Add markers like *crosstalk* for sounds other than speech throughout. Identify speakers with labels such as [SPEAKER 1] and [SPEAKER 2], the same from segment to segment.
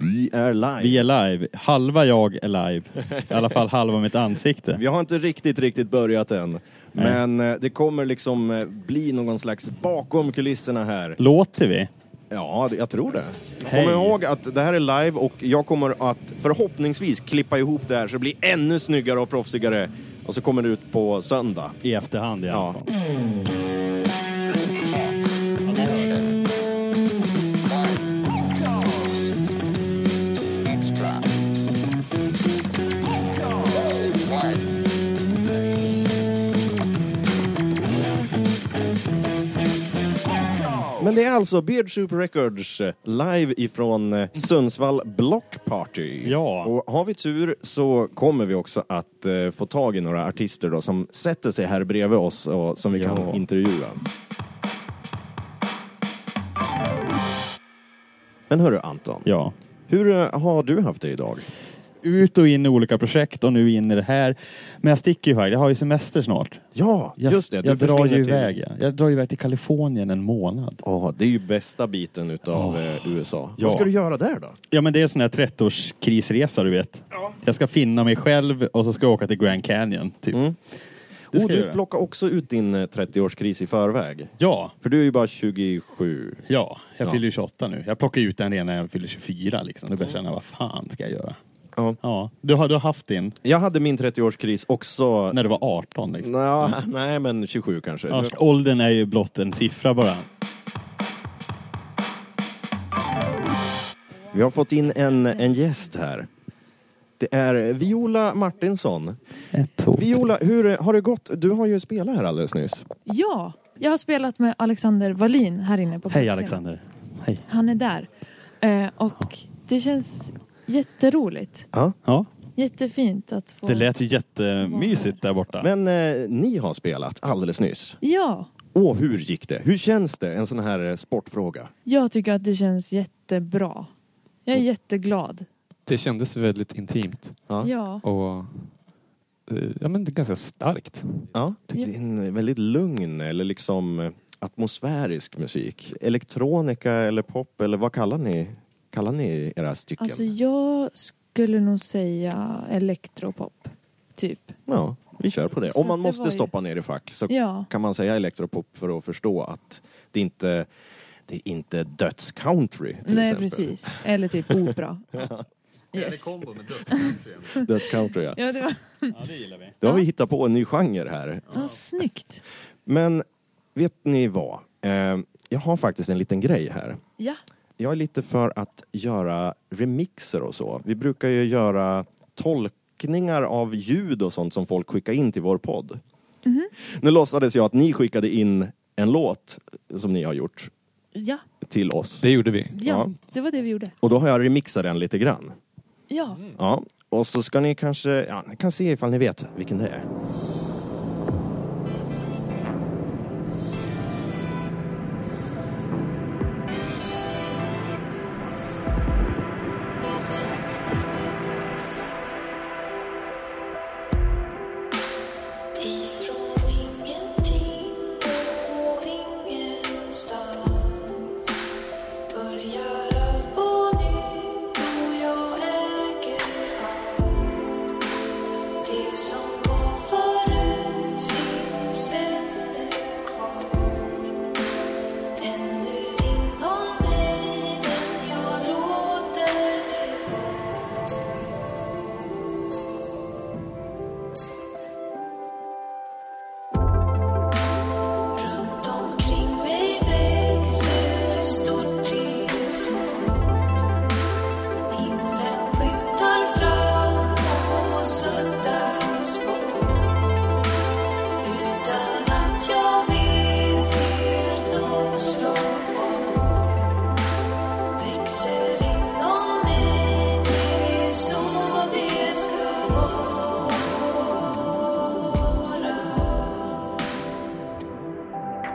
[SPEAKER 1] Vi är live.
[SPEAKER 2] Vi är live. Halva jag är live. I alla fall halva mitt ansikte.
[SPEAKER 1] Vi har inte riktigt, riktigt börjat än. Men eh, det kommer liksom eh, bli någon slags bakom kulisserna här.
[SPEAKER 2] Låter vi?
[SPEAKER 1] Ja, det- jag tror det.
[SPEAKER 2] Hej.
[SPEAKER 1] Kom ihåg att det här är live och jag kommer att förhoppningsvis klippa ihop det här så det blir ännu snyggare och proffsigare. Och så kommer det ut på söndag.
[SPEAKER 2] I efterhand i alla
[SPEAKER 1] Ja.
[SPEAKER 2] fall.
[SPEAKER 1] Men det är alltså Beard Soup Records eh, live ifrån eh, Sundsvall Block Party.
[SPEAKER 2] Ja.
[SPEAKER 1] Och har vi tur så kommer vi också att eh, få tag i några artister då som sätter sig här bredvid oss och som vi
[SPEAKER 2] Ja.
[SPEAKER 1] kan intervjua. Men hörru Anton,
[SPEAKER 2] Ja.
[SPEAKER 1] hur eh, har du haft det idag?
[SPEAKER 2] Ut och in i olika projekt och nu in i det här. Men jag sticker ju iväg. Jag har ju semester snart.
[SPEAKER 1] Ja,
[SPEAKER 2] Jag,
[SPEAKER 1] just det.
[SPEAKER 2] jag drar
[SPEAKER 1] försvinner
[SPEAKER 2] ju
[SPEAKER 1] till-
[SPEAKER 2] iväg. ja. Jag drar ju iväg till Kalifornien en månad.
[SPEAKER 1] Ja, det är ju bästa biten utav eh, USA.
[SPEAKER 2] Ja.
[SPEAKER 1] Vad ska du göra där då?
[SPEAKER 2] Ja men det är en sån här 30-årskrisresa du vet. Jag ska finna mig själv och så ska jag åka till Grand Canyon.
[SPEAKER 1] Och
[SPEAKER 2] Typ. Det ska jag
[SPEAKER 1] Mm. Oh, du
[SPEAKER 2] göra.
[SPEAKER 1] plockar också ut din eh, 30-årskris i förväg.
[SPEAKER 2] Ja,
[SPEAKER 1] För du är ju bara 27.
[SPEAKER 2] ja. Jag
[SPEAKER 1] Ja.
[SPEAKER 2] fyller ju 28 nu. Jag plockar ut den redan när jag fyller 24 liksom. Då börjar jag känna, vad fan ska jag göra?
[SPEAKER 1] Ja.
[SPEAKER 2] Ja. Du har, du har haft din
[SPEAKER 1] Jag hade min 30-årskris också...
[SPEAKER 2] när du var 18 liksom.
[SPEAKER 1] Nå,
[SPEAKER 3] *laughs*
[SPEAKER 1] nej, men 27 kanske.
[SPEAKER 2] Ja, åldern är ju blott en siffra bara.
[SPEAKER 1] Vi har fått in en, en gäst här. Det är Viola Martinsson. Viola, hur har det gått? Du har ju spelat här alldeles nyss.
[SPEAKER 3] Ja, jag har spelat med Alexander Wallin här inne på
[SPEAKER 2] Hej
[SPEAKER 3] scenen.
[SPEAKER 2] Alexander. Hej.
[SPEAKER 3] Han är där. Eh, och det känns jätteroligt.
[SPEAKER 1] Ja.
[SPEAKER 2] Ja,
[SPEAKER 3] Jättefint att få...
[SPEAKER 2] det lät ju jättemysigt där borta.
[SPEAKER 1] Men eh, ni har spelat alldeles nyss.
[SPEAKER 3] Ja,
[SPEAKER 1] Åh, hur gick det? Hur känns det? En sån här eh, sportfråga.
[SPEAKER 3] jag tycker att det känns jättebra. Jag är jätteglad.
[SPEAKER 4] Det kändes väldigt intimt
[SPEAKER 1] Ja.
[SPEAKER 3] Ja,
[SPEAKER 4] och eh, ja, men det är ganska starkt.
[SPEAKER 1] Ja, det är en väldigt lugn eller liksom eh, atmosfärisk musik. Elektronika eller pop eller vad kallar ni, kallar ni era stycken?
[SPEAKER 3] alltså jag skulle nog säga elektropop, typ.
[SPEAKER 1] Ja, vi kör på det.
[SPEAKER 3] Så
[SPEAKER 1] Om man
[SPEAKER 3] det
[SPEAKER 1] måste
[SPEAKER 3] var ju-
[SPEAKER 1] stoppa ner i fack så
[SPEAKER 3] Ja,
[SPEAKER 1] kan man säga elektropop för att förstå att det inte det är inte dödscountry till
[SPEAKER 3] nej
[SPEAKER 1] exempel. *laughs*
[SPEAKER 3] precis. Eller typ opera. Yes.
[SPEAKER 1] Dödscountry, ja.
[SPEAKER 3] Ja, det var...
[SPEAKER 2] Ja, det gillar vi.
[SPEAKER 1] Då har vi hittat på en ny genre här.
[SPEAKER 3] Ja, snyggt.
[SPEAKER 1] Men vet ni vad? Eh, jag har faktiskt en liten grej här.
[SPEAKER 3] Ja,
[SPEAKER 1] Jag är lite för att göra remixer och så. Vi brukar ju göra tolkningar av ljud och sånt som folk skickar in till vår podd.
[SPEAKER 3] Mhm.
[SPEAKER 1] Nu låtsades jag att ni skickade in en låt som ni har gjort
[SPEAKER 3] ja,
[SPEAKER 1] till oss.
[SPEAKER 4] Det gjorde vi.
[SPEAKER 3] ja. Det var det vi gjorde.
[SPEAKER 1] Och då har jag remixat den lite grann.
[SPEAKER 3] Ja.
[SPEAKER 1] Ja. Och så ska ni kanske, ja, ni kan se ifall ni vet vilken det är.
[SPEAKER 5] Ifrån ingenting och ingenstans börjar allt på nytt och jag äger allt. Det som var förut finns ännu kvar. Ännu inom mig, men jag låter det vara. Runt omkring mig växer stort till smått. Himlen skymtar fram och suddas bort. Utan att jag vet helt oslagbar. Växer inom mig, det är så det ska vara.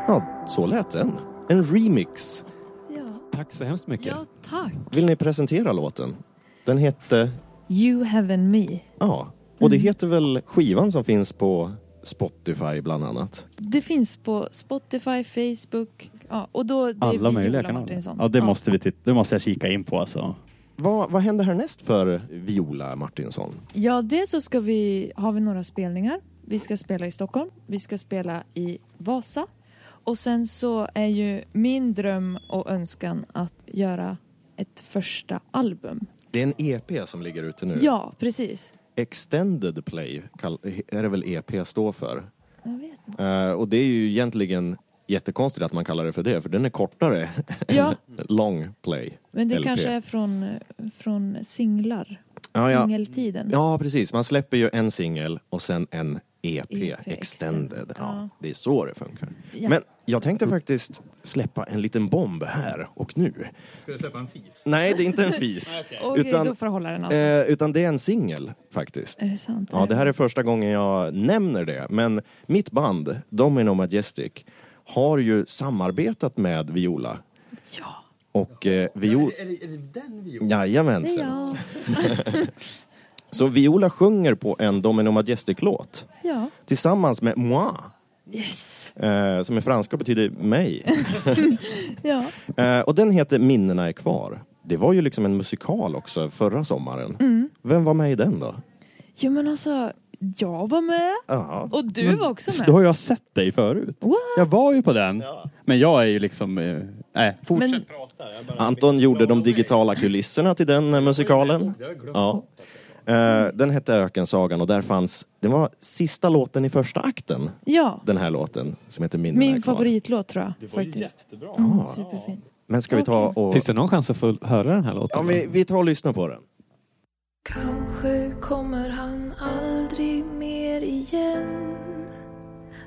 [SPEAKER 1] Ja, så lät den. En remix.
[SPEAKER 3] ja.
[SPEAKER 4] Tack så hemskt mycket.
[SPEAKER 3] Ja, tack.
[SPEAKER 1] Vill ni presentera låten? Den hette,
[SPEAKER 3] You Heaven Me.
[SPEAKER 1] ja, och det
[SPEAKER 3] Mm.
[SPEAKER 1] heter väl skivan som finns på Spotify bland annat.
[SPEAKER 3] Det finns på Spotify, Facebook ja, och då det är
[SPEAKER 2] Alla
[SPEAKER 3] Viola
[SPEAKER 2] möjliga kanaler.
[SPEAKER 3] Martinsson.
[SPEAKER 2] Ja, det måste, vi titta, det måste jag kika in på alltså.
[SPEAKER 1] Vad, vad händer härnäst för Viola Martinsson?
[SPEAKER 3] Ja, dels så ska vi, har vi några spelningar. Vi ska spela i Stockholm, vi ska spela i Vasa. Och sen så är ju min dröm och önskan att göra ett första album.
[SPEAKER 1] Det är en EP som ligger ute nu.
[SPEAKER 3] Ja, precis.
[SPEAKER 1] Extended Play kall- är det väl EP står för?
[SPEAKER 3] Jag vet inte.
[SPEAKER 1] Eh, och det är ju egentligen jättekonstigt att man kallar det för det, för den är kortare *laughs*
[SPEAKER 3] Ja,
[SPEAKER 1] än long play.
[SPEAKER 3] men det
[SPEAKER 1] LP.
[SPEAKER 3] kanske är från, eh, från singlar.
[SPEAKER 1] Ja, ja.
[SPEAKER 3] Singeltiden.
[SPEAKER 1] ja, precis. Man släpper ju en singel och sen en EP,
[SPEAKER 3] EP,
[SPEAKER 1] extended.
[SPEAKER 3] E extended.
[SPEAKER 1] Ja,
[SPEAKER 3] Ja.
[SPEAKER 1] det är så det funkar.
[SPEAKER 3] Ja.
[SPEAKER 1] Men jag tänkte faktiskt släppa en liten bomb här och nu.
[SPEAKER 2] Ska du släppa en fis?
[SPEAKER 1] Nej, det är
[SPEAKER 2] *laughs*
[SPEAKER 1] inte en fis.
[SPEAKER 3] Okej,
[SPEAKER 1] utan-
[SPEAKER 3] då får jag hålla den alltså.
[SPEAKER 1] eh, utan det är en singel faktiskt.
[SPEAKER 3] är det sant?
[SPEAKER 1] Ja, det här är första gången jag nämner det. Men mitt band, Domino Majestic, har ju samarbetat med Viola.
[SPEAKER 3] Ja.
[SPEAKER 1] Och eh, Viola...
[SPEAKER 2] det, den vi
[SPEAKER 1] Jajamensan.
[SPEAKER 3] Ja.
[SPEAKER 1] Så Viola sjunger på en Domino Majestic-låt
[SPEAKER 3] ja.
[SPEAKER 1] tillsammans med Moi,
[SPEAKER 3] Yes.
[SPEAKER 1] eh, som i franska betyder mig.
[SPEAKER 3] Ja.
[SPEAKER 1] eh, och den heter Minnena är kvar. Det var ju liksom en musikal också förra sommaren. Vem var med i den då?
[SPEAKER 3] ja, men alltså, jag var med
[SPEAKER 1] Ja.
[SPEAKER 3] och du var också
[SPEAKER 2] Då
[SPEAKER 3] med.
[SPEAKER 2] har jag sett dig förut.
[SPEAKER 3] What?
[SPEAKER 2] Jag var ju på den. Men jag är ju liksom... eh, Nej, fortsätt
[SPEAKER 3] Men-
[SPEAKER 2] prata. Jag bara...
[SPEAKER 1] Anton gjorde de digitala kulisserna till den eh, musikalen. Ja. Eh, den hette Ökensagan och där fanns, det var sista låten i första akten,
[SPEAKER 3] Ja,
[SPEAKER 1] den här låten som heter Minnena är
[SPEAKER 3] min
[SPEAKER 1] kvar.
[SPEAKER 3] favoritlåt tror jag faktiskt.
[SPEAKER 2] jättebra.
[SPEAKER 3] Mm, superfin.
[SPEAKER 1] Men ska vi ta och...
[SPEAKER 4] Finns det någon chans att få höra den här låten?
[SPEAKER 1] Ja, vi, vi tar och lyssnar på den.
[SPEAKER 5] Kanske kommer han aldrig mer igen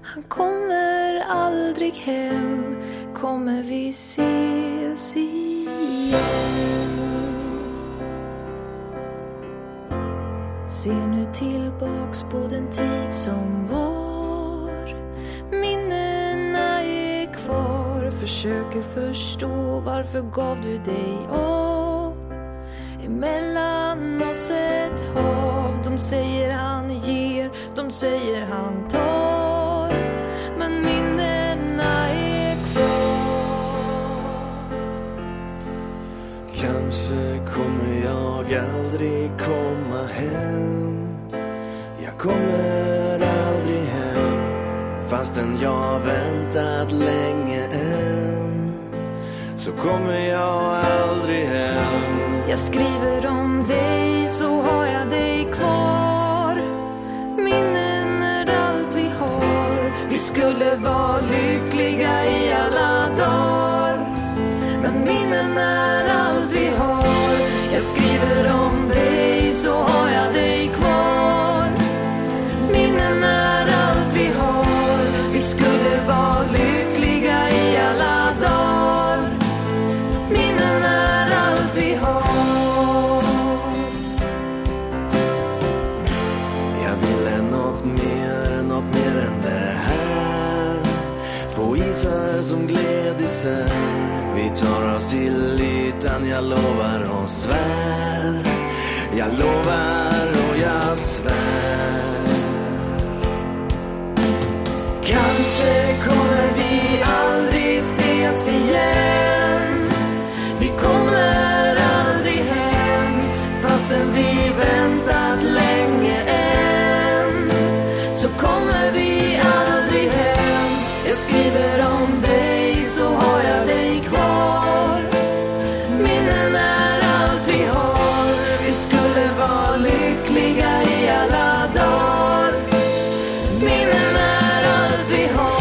[SPEAKER 5] Han kommer aldrig hem Kommer vi ses igen? Se nu tillbaks på den tid som var Minnena är kvar Försöker förstå varför gav du dig av Emellan oss ett hav De säger han ger, de säger han tar Men minnena är kvar
[SPEAKER 6] Kanske kommer jag aldrig komma hem Jag kommer aldrig hem Fastän jag väntat länge än Så kommer jag aldrig hem
[SPEAKER 5] Jag skriver om dig så har jag dig kvar Minnen är allt vi har Vi skulle vara lyckliga i alla dagar Men minnen är allt vi har Jag skriver om dig så har jag dig kvar Minnen är allt vi har Vi skulle vara lyckliga i alla dagar Minnen är allt vi har
[SPEAKER 6] Jag ville något mer, något mer än det här Två isar som gled isär Vi tar oss till ytan, jag lovar och svär Jag lovar och jag svär
[SPEAKER 5] Kanske kommer vi aldrig ses igen Vi kommer aldrig hem Fastän vi väntat länge än Så kommer vi aldrig hem Jag skriver om dig så har jag dig kvar Minnen är allt vi har Vi skulle vara lyckliga i alla dagar Minnen är allt vi har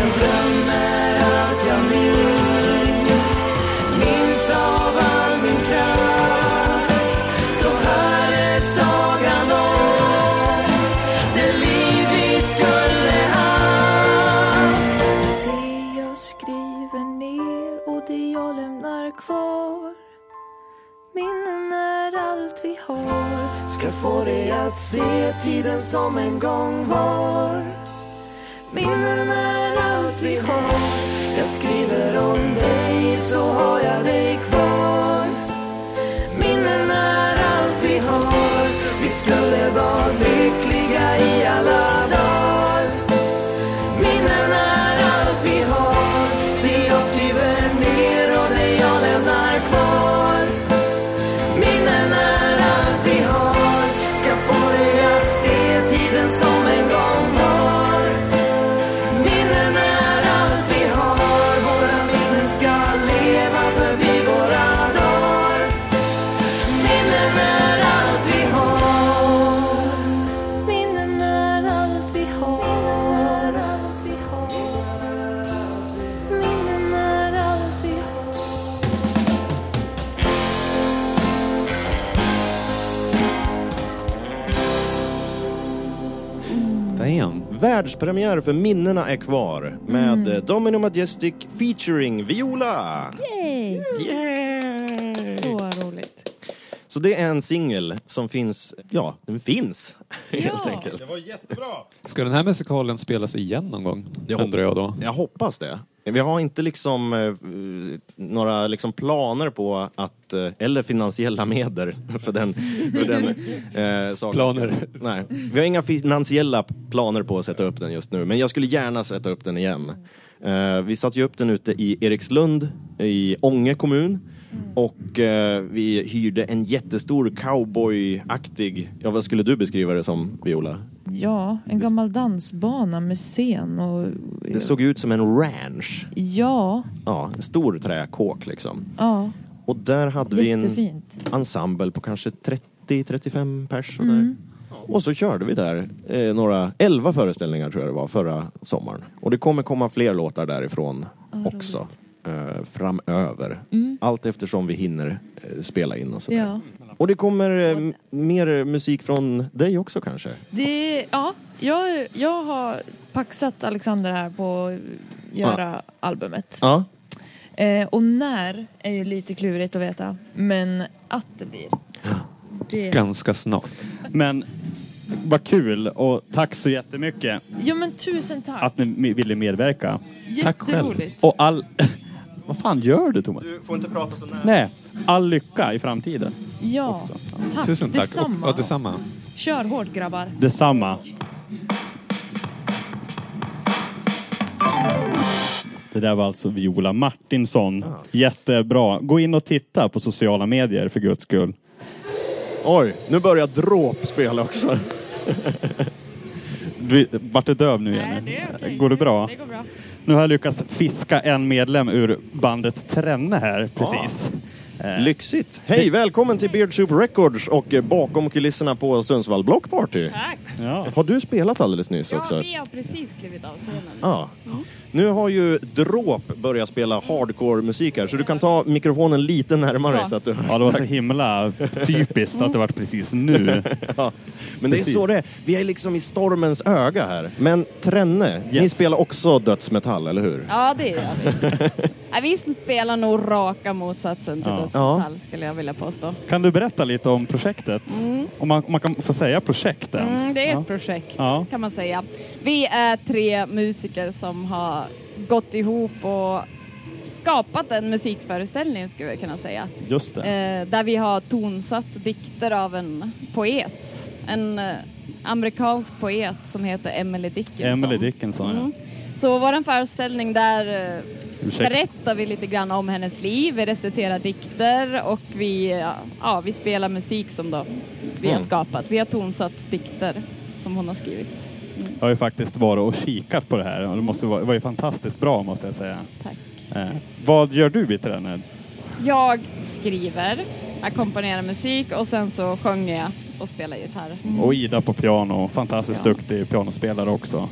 [SPEAKER 5] En dröm är allt jag minns Minns av all min kraft Så här är sagan om det liv vi skulle haft Det jag skriver ner och det jag lämnar kvar Minnen är allt vi har Ska få dig att se tiden som en gång var Minnen är allt vi har Jag skriver om dig så har jag dig kvar Minnen är har. Vi skulle vara lyckliga i alla dagar. Minnen är allt vi har. Det jag skriver ner och det jag lämnar kvar. Minnen är allt vi har. Ska få dig att se tiden som en gång var. Minnen är allt vi har. Våra minnen ska leva förbi våra dagar. Minnen är allt vi har. Minnen är allt vi har. Allt vi har. Minnen är allt vi har.
[SPEAKER 4] Damn.
[SPEAKER 1] Världspremiär för Minnena är kvar med mm. Domino Majestic featuring Viola!
[SPEAKER 3] Yay!
[SPEAKER 1] Yay!
[SPEAKER 3] Så roligt.
[SPEAKER 1] Så det är en singel som finns, ja, den finns *laughs* helt enkelt.
[SPEAKER 4] Ska den här musikalen spelas igen någon gång?
[SPEAKER 1] Jag
[SPEAKER 4] undrar jag då.
[SPEAKER 1] Jag hoppas det. Vi har inte liksom eh, några liksom planer på att, eh, eller finansiella medel *laughs* för den, för den eh, saken.
[SPEAKER 4] Planer.
[SPEAKER 1] Nej, vi har inga finansiella planer på att sätta upp den just nu, men jag skulle gärna sätta upp den igen. Eh, vi satte ju upp den ute i Erikslund i Ånge kommun och eh, vi hyrde en jättestor cowboyaktig, ja vad skulle du beskriva det som Viola?
[SPEAKER 3] Ja, en gammal dansbana med scen och...
[SPEAKER 1] Det såg ut som en ranch.
[SPEAKER 3] Ja,
[SPEAKER 1] Ja, en stor träkåk liksom.
[SPEAKER 3] ja.
[SPEAKER 1] Och där hade vi en
[SPEAKER 3] Jättefint.
[SPEAKER 1] ensemble på kanske 30-35 pers.
[SPEAKER 3] Mm.
[SPEAKER 1] Och, och så körde vi där eh, några, 11 föreställningar tror jag det var förra sommaren. Och det kommer komma fler låtar därifrån
[SPEAKER 3] Mm.
[SPEAKER 1] också. Eh, framöver. Allt eftersom vi hinner eh, spela in och sådär.
[SPEAKER 3] Ja.
[SPEAKER 1] Och det kommer eh, m- mer musik från dig också kanske?
[SPEAKER 3] Det, ja, jag, jag har paxat Alexander här på att göra albumet.
[SPEAKER 1] Ja.
[SPEAKER 3] Eh, och när är ju lite klurigt att veta. Men att det blir. Det.
[SPEAKER 4] Ganska snart.
[SPEAKER 2] Men vad kul och tack så jättemycket
[SPEAKER 3] Ja men tusen tack.
[SPEAKER 2] att ni me- ville medverka.
[SPEAKER 4] Tack själv.
[SPEAKER 3] Jätteroligt.
[SPEAKER 2] Och all... *laughs* vad fan gör du Thomas?
[SPEAKER 1] Du får inte prata så nära.
[SPEAKER 2] Nej, all lycka i framtiden.
[SPEAKER 3] Ja. Tack.
[SPEAKER 4] Tusen tack.
[SPEAKER 3] Detsamma.
[SPEAKER 4] Och, och detsamma.
[SPEAKER 3] Kör hårt grabbar.
[SPEAKER 2] Detsamma. Det där var alltså Viola Martinsson. Jättebra. Gå in och titta på sociala medier för guds skull.
[SPEAKER 1] Oj, nu börjar dråp spela också.
[SPEAKER 2] Du, vart du döv nu Jenny? Går det bra?
[SPEAKER 7] Det går bra.
[SPEAKER 2] Nu har jag lyckats fiska en medlem ur bandet Trenne här precis. Eh,
[SPEAKER 1] Lyxigt! Hej, välkommen till Beard Soup Records och eh, bakom kulisserna på Sundsvall Block Party.
[SPEAKER 7] Tack.
[SPEAKER 2] ja.
[SPEAKER 1] Har du spelat alldeles nyss
[SPEAKER 7] Ja,
[SPEAKER 1] också?
[SPEAKER 7] vi har precis klivit av scenen.
[SPEAKER 1] Ja. Nu har ju Dråp börjat spela hardcore-musik här, så du kan ta mikrofonen lite närmare.
[SPEAKER 7] Så.
[SPEAKER 1] Så att du...
[SPEAKER 2] ja, det var så himla typiskt att det var precis
[SPEAKER 7] Mm.
[SPEAKER 2] nu.
[SPEAKER 1] ja. Men det är
[SPEAKER 2] Precis.
[SPEAKER 1] så det är. Vi är liksom i stormens öga här. Men Trenne, ni
[SPEAKER 2] Yes.
[SPEAKER 1] spelar också dödsmetall, eller hur?
[SPEAKER 7] Ja, det gör vi. *laughs* Nej, vi spelar nog raka motsatsen till
[SPEAKER 2] Ja.
[SPEAKER 7] dödsmetall skulle jag vilja påstå.
[SPEAKER 2] Kan du berätta lite om projektet? Om, man, om man kan få säga projekt ens?
[SPEAKER 7] Mm, det är
[SPEAKER 2] ja.
[SPEAKER 7] ett projekt
[SPEAKER 2] Ja.
[SPEAKER 7] kan man säga. Vi är tre musiker som har gått ihop och skapat en musikföreställning skulle jag kunna säga.
[SPEAKER 2] Just det.
[SPEAKER 7] Eh, där vi har tonsatt dikter av en poet. En eh, amerikansk poet som heter Emily Dickinson.
[SPEAKER 2] Emily Dickinson, ja.
[SPEAKER 7] Mm. Så vår föreställning där eh,
[SPEAKER 2] Ursäkta.
[SPEAKER 7] berättar vi lite grann om hennes liv, vi reciterar dikter och vi, eh, ja, vi spelar musik som då vi
[SPEAKER 2] Mm.
[SPEAKER 7] har skapat. Vi har tonsatt dikter som hon har skrivit. Mm,
[SPEAKER 2] Jag har ju faktiskt varit och kikat på det här och det måste vara, det var ju fantastiskt bra måste jag säga.
[SPEAKER 7] tack.
[SPEAKER 2] Eh, vad gör du i tränet?
[SPEAKER 7] Jag skriver, ackompanjerar musik och sen så sjunger jag och spelar gitarr.
[SPEAKER 2] Och Ida på piano, fantastiskt
[SPEAKER 7] Ja.
[SPEAKER 2] duktig pianospelare också.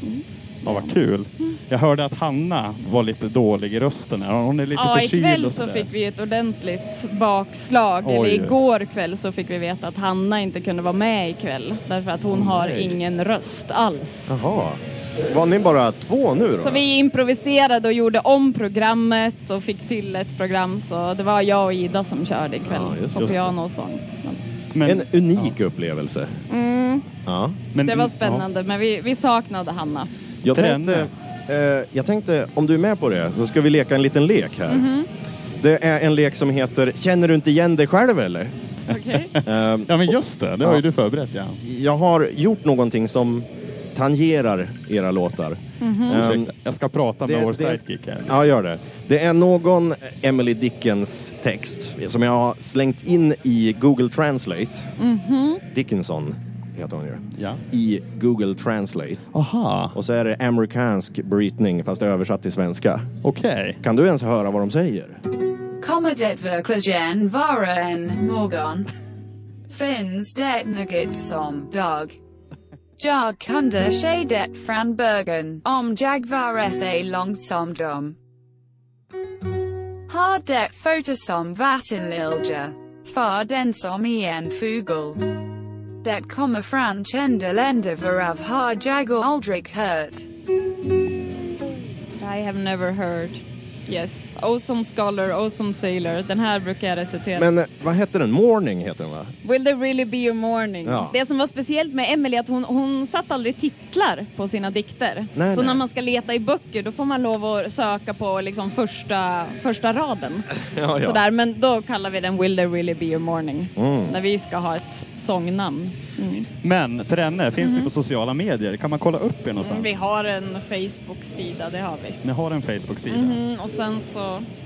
[SPEAKER 2] Ja, vad kul. Jag hörde att Hanna var lite dålig i rösten här. Hon är lite
[SPEAKER 7] Ja,
[SPEAKER 2] förkyld
[SPEAKER 7] ikväll
[SPEAKER 2] och
[SPEAKER 7] så
[SPEAKER 2] sådär.
[SPEAKER 7] fick vi ett ordentligt bakslag.
[SPEAKER 2] Oj.
[SPEAKER 7] Eller igår kväll så fick vi veta att Hanna inte kunde vara med ikväll därför att hon har ingen röst alls.
[SPEAKER 1] Jaha. Var ni bara två nu då?
[SPEAKER 7] Så vi improviserade och gjorde om programmet och fick till ett program så det var jag och Ida som körde ikväll
[SPEAKER 1] Ja, just
[SPEAKER 7] på
[SPEAKER 1] det.
[SPEAKER 7] piano och sång. Men
[SPEAKER 2] Men,
[SPEAKER 1] En unik upplevelse.
[SPEAKER 7] Mm.
[SPEAKER 1] Ja.
[SPEAKER 2] men-
[SPEAKER 7] Det var
[SPEAKER 2] Ja.
[SPEAKER 7] spännande men vi, vi saknade
[SPEAKER 1] *laughs*
[SPEAKER 7] Hanna.
[SPEAKER 1] Jag
[SPEAKER 2] Tränare.
[SPEAKER 1] tänkte, eh, jag tänkte, om du är med på det, så ska vi leka en liten lek här. Det är en lek som heter Känner du inte igen dig själv eller?
[SPEAKER 7] Okej.
[SPEAKER 1] Ehm,
[SPEAKER 2] Ja men just det, det har ju
[SPEAKER 1] Ja.
[SPEAKER 2] du förberett ja.
[SPEAKER 1] jag har gjort någonting som tangerar era låtar. Ehm,
[SPEAKER 2] Ursäkta, jag ska prata med
[SPEAKER 1] det-
[SPEAKER 2] vår
[SPEAKER 1] det-
[SPEAKER 2] sidekick här.
[SPEAKER 1] Ja, gör det. Det är någon Emily Dickens text som jag har slängt in i Google Translate. Dickinson heter hon ju.
[SPEAKER 2] Ja.
[SPEAKER 1] I Google Translate.
[SPEAKER 2] Aha,
[SPEAKER 1] Och så är det amerikansk brytning fast översatt till svenska.
[SPEAKER 2] okej.
[SPEAKER 1] Kan du ens höra vad de säger?
[SPEAKER 8] Kommedet verkligen vara en morgon? Finns det något som dag? Jag kunde se det från början om jag var så långsam dum. Har det foto som vattenlilja, för den som är en fågel. Det kommer från kända länder varav har jag aldrig hört.
[SPEAKER 7] I have never heard. Yes. Awesome scholar, awesome sailor. Den här brukar jag recitera.
[SPEAKER 1] Men eh, vad hette den? Morning heter den va?
[SPEAKER 7] Will there really be a morning?
[SPEAKER 1] Ja.
[SPEAKER 7] Det som var speciellt med Emily är att hon, hon satt aldrig titlar på sina dikter.
[SPEAKER 1] Nej,
[SPEAKER 7] så
[SPEAKER 1] nej.
[SPEAKER 7] när man ska leta i böcker då får man lov att söka på liksom första, första raden.
[SPEAKER 1] Ja, ja.
[SPEAKER 7] Sådär, men då kallar vi den Will there really be a morning?
[SPEAKER 2] Mm.
[SPEAKER 7] När vi ska ha ett sångnamn. Mm.
[SPEAKER 2] Men Trenne, finns
[SPEAKER 7] Mhm.
[SPEAKER 2] ni på sociala medier? Kan man kolla upp er någonstans?
[SPEAKER 7] Vi har en Facebook-sida, det har vi.
[SPEAKER 2] Ni har en Facebook-sida.
[SPEAKER 7] Mm, och sen så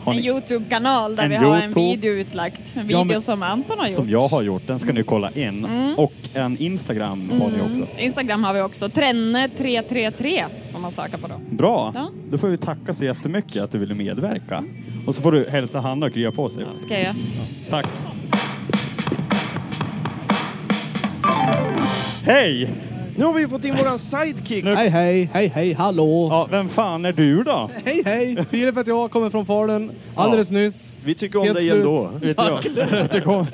[SPEAKER 2] Har
[SPEAKER 7] en
[SPEAKER 2] ni-
[SPEAKER 7] Youtube-kanal där
[SPEAKER 2] En
[SPEAKER 7] vi har en
[SPEAKER 2] YouTube-
[SPEAKER 7] video utlagt. En
[SPEAKER 2] Ja,
[SPEAKER 7] video
[SPEAKER 2] men-
[SPEAKER 7] som Anton har gjort. Mm.
[SPEAKER 2] Som jag har gjort, den ska ni kolla in. Och en Instagram har ni också.
[SPEAKER 7] Instagram har vi också. Trenne333 får man söka på då.
[SPEAKER 2] Bra!
[SPEAKER 7] Ja.
[SPEAKER 2] Då får vi tacka så jättemycket att du ville medverka. Och så får du hälsa Hanna och krya på sig.
[SPEAKER 7] Ska jag?
[SPEAKER 2] Tack! Hej!
[SPEAKER 1] Nu har vi ju fått in våran sidekick!
[SPEAKER 9] Hej, hej, hej, hej, hallå!
[SPEAKER 2] Ja, vem fan är du då?
[SPEAKER 9] Hej, hej! Filip heter jag, kommer från Falun alldeles nyss.
[SPEAKER 1] Vi tycker om
[SPEAKER 9] Helt
[SPEAKER 1] dig
[SPEAKER 9] slut.
[SPEAKER 1] ändå.
[SPEAKER 2] Vet Tack. Jag. Det kom...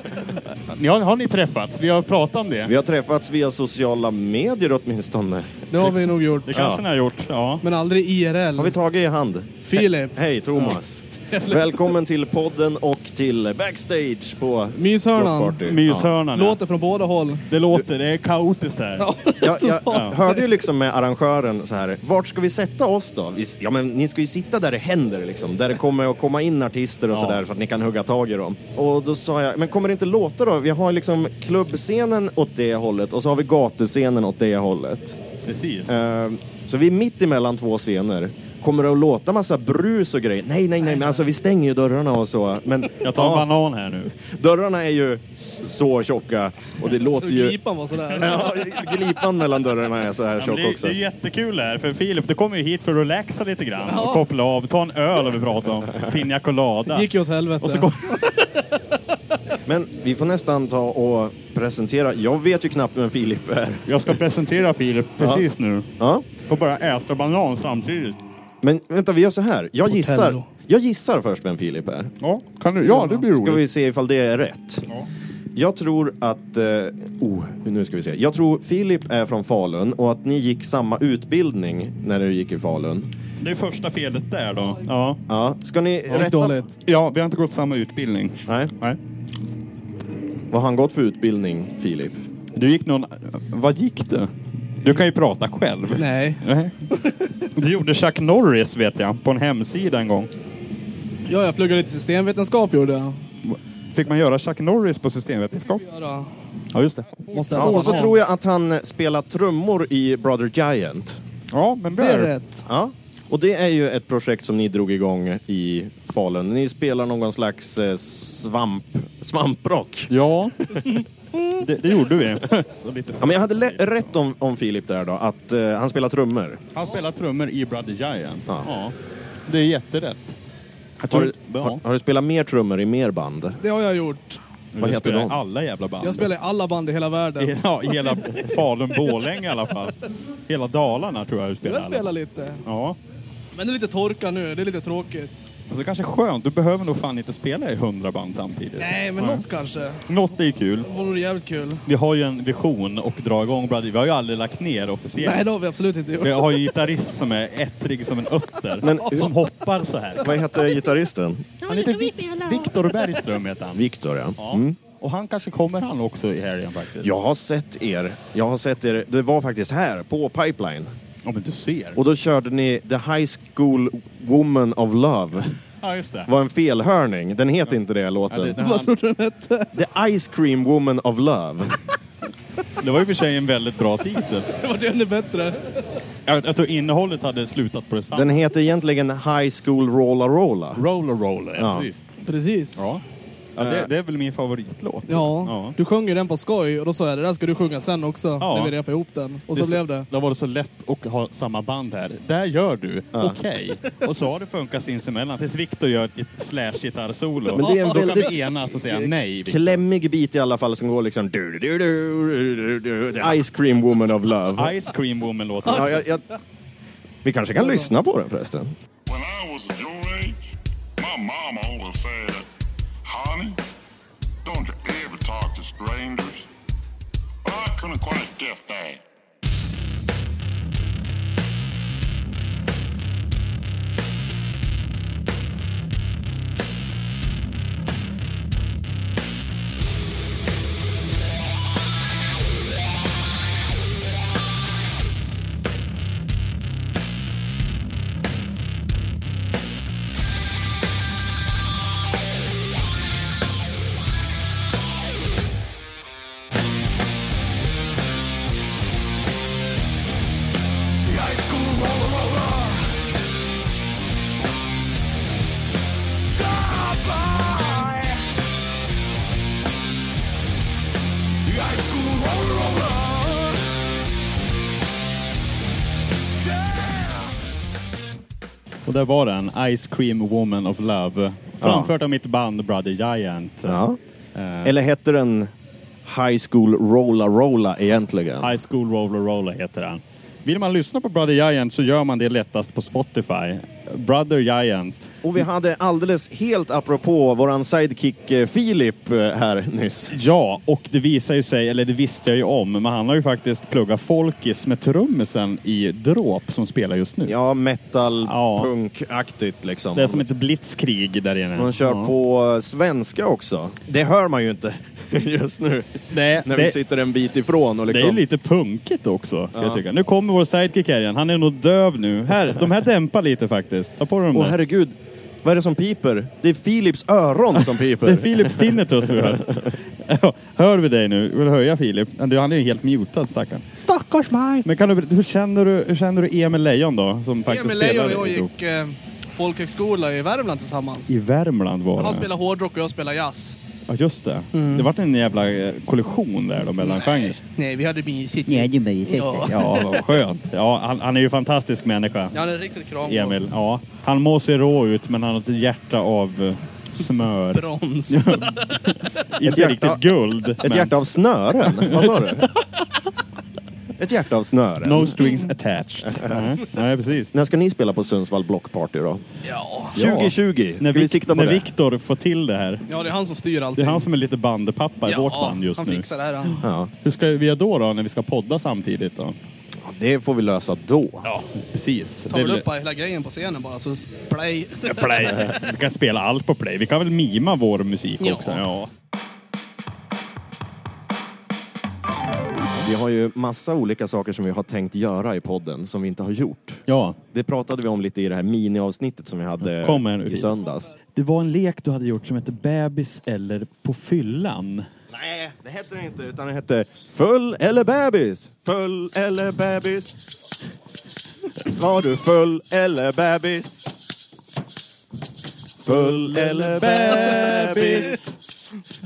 [SPEAKER 2] ni har, har ni träffats? Vi har pratat om det.
[SPEAKER 1] Vi har träffats via sociala medier åtminstone.
[SPEAKER 9] Det har vi nog gjort.
[SPEAKER 2] Det kanske ni har gjort. Ja.
[SPEAKER 9] Men aldrig IRL.
[SPEAKER 1] Har vi tagit i hand?
[SPEAKER 9] Filip,
[SPEAKER 1] Hej Thomas! Välkommen till podden och till backstage på
[SPEAKER 9] myshörnan.
[SPEAKER 1] Rockparty.
[SPEAKER 2] Myshörnan. ja.
[SPEAKER 9] Låter från båda håll.
[SPEAKER 2] Det låter, det är kaotiskt där.
[SPEAKER 1] Ja, jag hörde ju liksom med arrangören så här, vart ska vi sätta oss då? Vi, ja men ni ska ju sitta där det händer liksom, där det kommer att komma in artister och
[SPEAKER 2] Ja.
[SPEAKER 1] sådär så att ni kan hugga tag i dem. Och då sa jag, men kommer det inte låta då? Vi har liksom klubbscenen åt det hållet och så har vi gatuscenen åt det hållet.
[SPEAKER 2] Precis.
[SPEAKER 1] Ehm, Så vi är mitt emellan två scener. Kommer det att låta massa brus och grejer? Nej, nej, nej, men alltså vi stänger ju dörrarna och så. Men
[SPEAKER 2] *laughs* Jag tar en banan här nu.
[SPEAKER 1] dörrarna är ju s- så tjocka och det låter ju...
[SPEAKER 9] Gripan var sådär.
[SPEAKER 1] *laughs* Ja, glipan mellan dörrarna är så här
[SPEAKER 2] Ja, men
[SPEAKER 1] tjock
[SPEAKER 2] det, är-
[SPEAKER 1] också.
[SPEAKER 2] det är jättekul det här, för Filip du kommer ju hit för att relaxa lite grann och koppla av. Ta en öl har vi pratat om. *laughs* Pina colada.
[SPEAKER 9] gick ju åt helvete.
[SPEAKER 2] Och så kom...
[SPEAKER 1] Men vi får nästan ta och presentera. Jag vet ju knappt vem Filip är.
[SPEAKER 2] Jag ska presentera Filip precis nu.
[SPEAKER 1] Ja.
[SPEAKER 2] Och bara äta banan samtidigt.
[SPEAKER 1] Men vänta, vi gör så här. Jag gissar,
[SPEAKER 9] Potello.
[SPEAKER 1] jag gissar först vem Filip är.
[SPEAKER 2] Ja, kan du? ja det blir
[SPEAKER 1] Ska
[SPEAKER 2] roligt.
[SPEAKER 1] vi se ifall det är rätt. Jag tror att... eh, Oh, nu ska vi se. Jag tror Filip är från Falun och att ni gick samma utbildning när du gick i Falun.
[SPEAKER 2] Det är första felet där då. Ja,
[SPEAKER 1] Ja. Ska ni
[SPEAKER 9] Det
[SPEAKER 1] rätta...
[SPEAKER 9] gick dåligt.
[SPEAKER 2] ja vi har inte gått samma utbildning.
[SPEAKER 1] Nej.
[SPEAKER 2] Nej.
[SPEAKER 1] Vad har han gått för utbildning, Filip?
[SPEAKER 2] Du gick någon... Vad gick du? Du kan ju prata själv.
[SPEAKER 9] Nej.
[SPEAKER 2] Nej. Det gjorde Chuck Norris vet jag, på en hemsida en gång.
[SPEAKER 9] Ja, jag pluggade lite systemvetenskap gjorde jag.
[SPEAKER 2] Fick man göra Chuck Norris på systemvetenskap?
[SPEAKER 9] Göra.
[SPEAKER 2] Ja, just det.
[SPEAKER 9] Måste
[SPEAKER 1] Ja, och så tror jag att han spelar trummor i Brother Giant.
[SPEAKER 2] Ja, men bra.
[SPEAKER 9] Det är rätt.
[SPEAKER 1] Ja. Och det är ju ett projekt som ni drog igång i Falun. Ni spelar någon slags eh, svamp, svamprock.
[SPEAKER 2] Ja, det, det gjorde vi. Så lite-
[SPEAKER 1] Ja, men jag hade lä- rätt om, om Filip där då, att eh, han spelar trummor.
[SPEAKER 2] Han spelar trummor i Brother Giant.
[SPEAKER 1] Ja.
[SPEAKER 2] Det är jätterätt. Jag
[SPEAKER 1] Har
[SPEAKER 2] tror,
[SPEAKER 1] du, har, har du spelat mer trummor i mer band?
[SPEAKER 9] Det har jag gjort.
[SPEAKER 1] vad heter
[SPEAKER 2] spelar i
[SPEAKER 1] de?
[SPEAKER 2] alla jävla band.
[SPEAKER 9] Jag spelar i alla band i hela världen.
[SPEAKER 2] Ja, i hela Falun-Borlänge i alla fall. Hela Dalarna tror jag du spelar.
[SPEAKER 9] Jag spelar lite.
[SPEAKER 2] Ja.
[SPEAKER 9] Men det är lite torka nu, det är lite tråkigt.
[SPEAKER 2] Och så kanske skönt, du behöver nog fan inte spela i hundra band samtidigt.
[SPEAKER 9] Nej, men något kanske.
[SPEAKER 2] Något är ju kul.
[SPEAKER 9] Det vore jävligt kul.
[SPEAKER 2] Vi har ju en vision och dra igång Brother Vi har ju aldrig lagt ner officiellt.
[SPEAKER 9] Nej, det har vi absolut inte
[SPEAKER 2] Vi
[SPEAKER 9] gjort.
[SPEAKER 2] har ju en gitarrist som är ettrig som en ötter.
[SPEAKER 1] Men-
[SPEAKER 2] som hoppar så här.
[SPEAKER 1] Vad heter gitarristen?
[SPEAKER 2] Han heter Vi- Viktor Bergström heter han.
[SPEAKER 1] Viktor, ja.
[SPEAKER 2] Ja. Och han kanske kommer han också i helgen faktiskt.
[SPEAKER 1] Jag har sett er. Jag har sett er. Det var faktiskt här, på Pipeline.
[SPEAKER 2] Ja, men du ser.
[SPEAKER 1] Och då körde ni The High School Woman of Love.
[SPEAKER 2] Ja, just det.
[SPEAKER 1] var en felhörning. Den heter inte det
[SPEAKER 2] Ja, det,
[SPEAKER 1] låten.
[SPEAKER 2] den
[SPEAKER 9] Vad
[SPEAKER 2] han,
[SPEAKER 9] trodde du den hette?
[SPEAKER 1] The Ice Cream Woman of Love.
[SPEAKER 2] det var ju för sig en väldigt bra titel.
[SPEAKER 9] Det var ännu bättre.
[SPEAKER 2] Jag, jag tror innehållet hade slutat på detsamma.
[SPEAKER 1] Den heter egentligen High School Rolla Rolla.
[SPEAKER 2] Roller Roller, ja,
[SPEAKER 1] Ja. Eh.
[SPEAKER 2] precis.
[SPEAKER 9] Precis. Ja.
[SPEAKER 2] Ja. Ja, det, det är väl min favoritlåt. Ja.
[SPEAKER 9] du sjöng ju den på skoj och då sa jag det där ska du sjunga sen också
[SPEAKER 2] Ja.
[SPEAKER 9] när vi repade ihop den. Och så
[SPEAKER 2] är
[SPEAKER 9] blev det.
[SPEAKER 2] Då var det så lätt att ha samma band här. Där gör du, okej. Och så har det funkat sinsemellan tills Victor gör ett slash-gitarrsolo.
[SPEAKER 1] Men det är en
[SPEAKER 2] Då kan
[SPEAKER 1] väldigt-
[SPEAKER 2] vi enas och säga nej. Victor.
[SPEAKER 1] Klämmig bit i alla fall som går liksom... Du, du, du, du, du, du, The Ice Cream Woman of Love.
[SPEAKER 2] Ice Cream Woman låter
[SPEAKER 1] Ja, jag, jag... Vi kanske kan lyssna på den förresten.
[SPEAKER 10] When I was your age, my mama always said, Honey, don't you ever talk to strangers. But I couldn't quite get that.
[SPEAKER 2] Och där var den, Ice Cream Woman of Love. Framfört av mitt band Brother Giant.
[SPEAKER 1] Ja.
[SPEAKER 2] Eh,
[SPEAKER 1] Eller heter den High School Rolla Rolla egentligen?
[SPEAKER 2] High School Roller Roller heter den. Vill man lyssna på Brother Giant så gör man det lättast på Spotify. Brother Giant.
[SPEAKER 1] Och vi hade alldeles helt apropå våran sidekick eh, Filip eh, här nyss.
[SPEAKER 2] Ja, och det visar ju sig, eller det visste jag ju om, men han har ju faktiskt pluggat folkis med trummisen i Dråp som spelar just nu.
[SPEAKER 1] Ja, metal,
[SPEAKER 2] Ja.
[SPEAKER 1] punkaktigt liksom.
[SPEAKER 2] Det är som ett blitzkrig där inne.
[SPEAKER 1] Man kör
[SPEAKER 2] ja.
[SPEAKER 1] på eh, svenska också. Det hör man ju inte *laughs* just nu.
[SPEAKER 2] Det,
[SPEAKER 1] När
[SPEAKER 2] det,
[SPEAKER 1] vi sitter en bit ifrån och
[SPEAKER 2] det är ju
[SPEAKER 1] liksom...
[SPEAKER 2] lite punkigt också, kan jag tycka. Nu kommer vår sidekick här igen. Han är nog döv nu. Här, de här dämpar lite faktiskt. Ta på dem
[SPEAKER 1] Åh
[SPEAKER 2] där.
[SPEAKER 1] herregud, vad är det som piper? Det är Philips öron som piper.
[SPEAKER 2] *laughs* Det är Filip Stinnetus vi hör.
[SPEAKER 1] *laughs*
[SPEAKER 2] Ja, hör vi dig nu? Vill du höja Filip? Du, Han är ju helt mutad stackarn.
[SPEAKER 9] Stackars mig!
[SPEAKER 2] Men kan du, hur, känner du, hur känner du Emil Lejon då? Som faktiskt
[SPEAKER 9] Emil Lejon och
[SPEAKER 2] spelar
[SPEAKER 9] jag
[SPEAKER 2] i Dråp?
[SPEAKER 9] gick eh, folkhögskola i Värmland tillsammans.
[SPEAKER 2] I Värmland var
[SPEAKER 9] Han
[SPEAKER 2] det.
[SPEAKER 9] spelar hårdrock och jag spelar jazz.
[SPEAKER 2] Ja, just det.
[SPEAKER 1] Mm.
[SPEAKER 2] Det vart en jävla eh, kollision där då mellan genrer.
[SPEAKER 9] Nej, vi hade mysigt. Ja.
[SPEAKER 2] Ja, vad skönt. Ja, han, han är ju en fantastisk människa,
[SPEAKER 9] Ja, han är riktigt kram.
[SPEAKER 2] Emil. Ja. Han må se rå ut, men han har ett hjärta av eh, smör.
[SPEAKER 9] Brons.
[SPEAKER 2] Inte
[SPEAKER 1] hjärta-
[SPEAKER 2] riktigt guld.
[SPEAKER 1] Ett
[SPEAKER 2] men
[SPEAKER 1] hjärta av snören, vad sa du? Ett hjärta av snören.
[SPEAKER 2] No strings attached.
[SPEAKER 1] Mm.
[SPEAKER 2] Nej, nej, precis.
[SPEAKER 1] När ska ni spela på Sundsvall Blockparty då?
[SPEAKER 9] ja.
[SPEAKER 2] Ja.
[SPEAKER 1] 2020,
[SPEAKER 2] När,
[SPEAKER 1] ska vi
[SPEAKER 2] Vic-
[SPEAKER 1] sikta på
[SPEAKER 2] när
[SPEAKER 1] det?
[SPEAKER 2] Viktor får till det här.
[SPEAKER 9] ja, det är han som styr
[SPEAKER 2] Det
[SPEAKER 9] allting.
[SPEAKER 2] är han som är lite bandpappa i
[SPEAKER 9] ja,
[SPEAKER 2] vårt band just
[SPEAKER 9] han
[SPEAKER 2] nu.
[SPEAKER 9] fixar det här. Han.
[SPEAKER 1] Ja,
[SPEAKER 2] Hur ska vi göra då, då, när vi ska podda samtidigt då?
[SPEAKER 1] det får vi lösa då.
[SPEAKER 2] Ja, precis.
[SPEAKER 9] Tar väl upp hela grejen på scenen bara, så s- play.
[SPEAKER 2] play. Vi kan spela allt på play. Vi kan väl mima vår musik
[SPEAKER 9] Ja.
[SPEAKER 2] också. Ja.
[SPEAKER 1] Vi har ju massa olika saker som vi har tänkt göra i podden som vi inte har gjort.
[SPEAKER 2] ja.
[SPEAKER 1] Det pratade vi om lite i det här miniavsnittet som vi hade
[SPEAKER 2] Kom här nu,
[SPEAKER 1] i
[SPEAKER 2] Filip.
[SPEAKER 1] söndags.
[SPEAKER 2] Det var en lek du hade gjort som hette Bebis eller på fyllan.
[SPEAKER 1] Nej, det hette det inte, utan det hette Full eller bebis? Full eller bebis? Var du full eller bebis? Full eller bebis?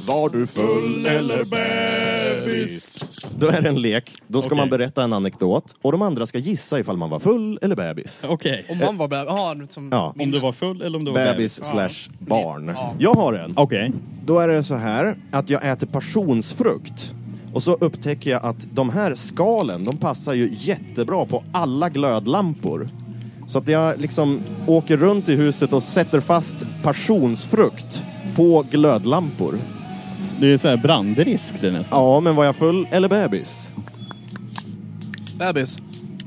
[SPEAKER 1] Var du full eller bebis? Då är det en lek. Då ska
[SPEAKER 2] Okej.
[SPEAKER 1] man berätta en anekdot och de andra ska gissa ifall man var full eller bebis.
[SPEAKER 2] Okej.
[SPEAKER 9] Om man var bebis. Ja, nu som...
[SPEAKER 1] Ja,
[SPEAKER 2] Om du var full eller om du var
[SPEAKER 1] bebis
[SPEAKER 2] bebis?
[SPEAKER 1] slash barn.
[SPEAKER 9] Ja.
[SPEAKER 1] Jag har en.
[SPEAKER 2] Okej.
[SPEAKER 1] Då är det så här att jag äter passionsfrukt och så upptäcker jag att de här skalen, de passar ju jättebra på alla glödlampor. Så att jag liksom åker runt i huset och sätter fast passionsfrukt på glödlampor.
[SPEAKER 2] Det är ju så här brandrisk det nästan.
[SPEAKER 1] Ja, men var jag full eller bebis?
[SPEAKER 9] Bebis.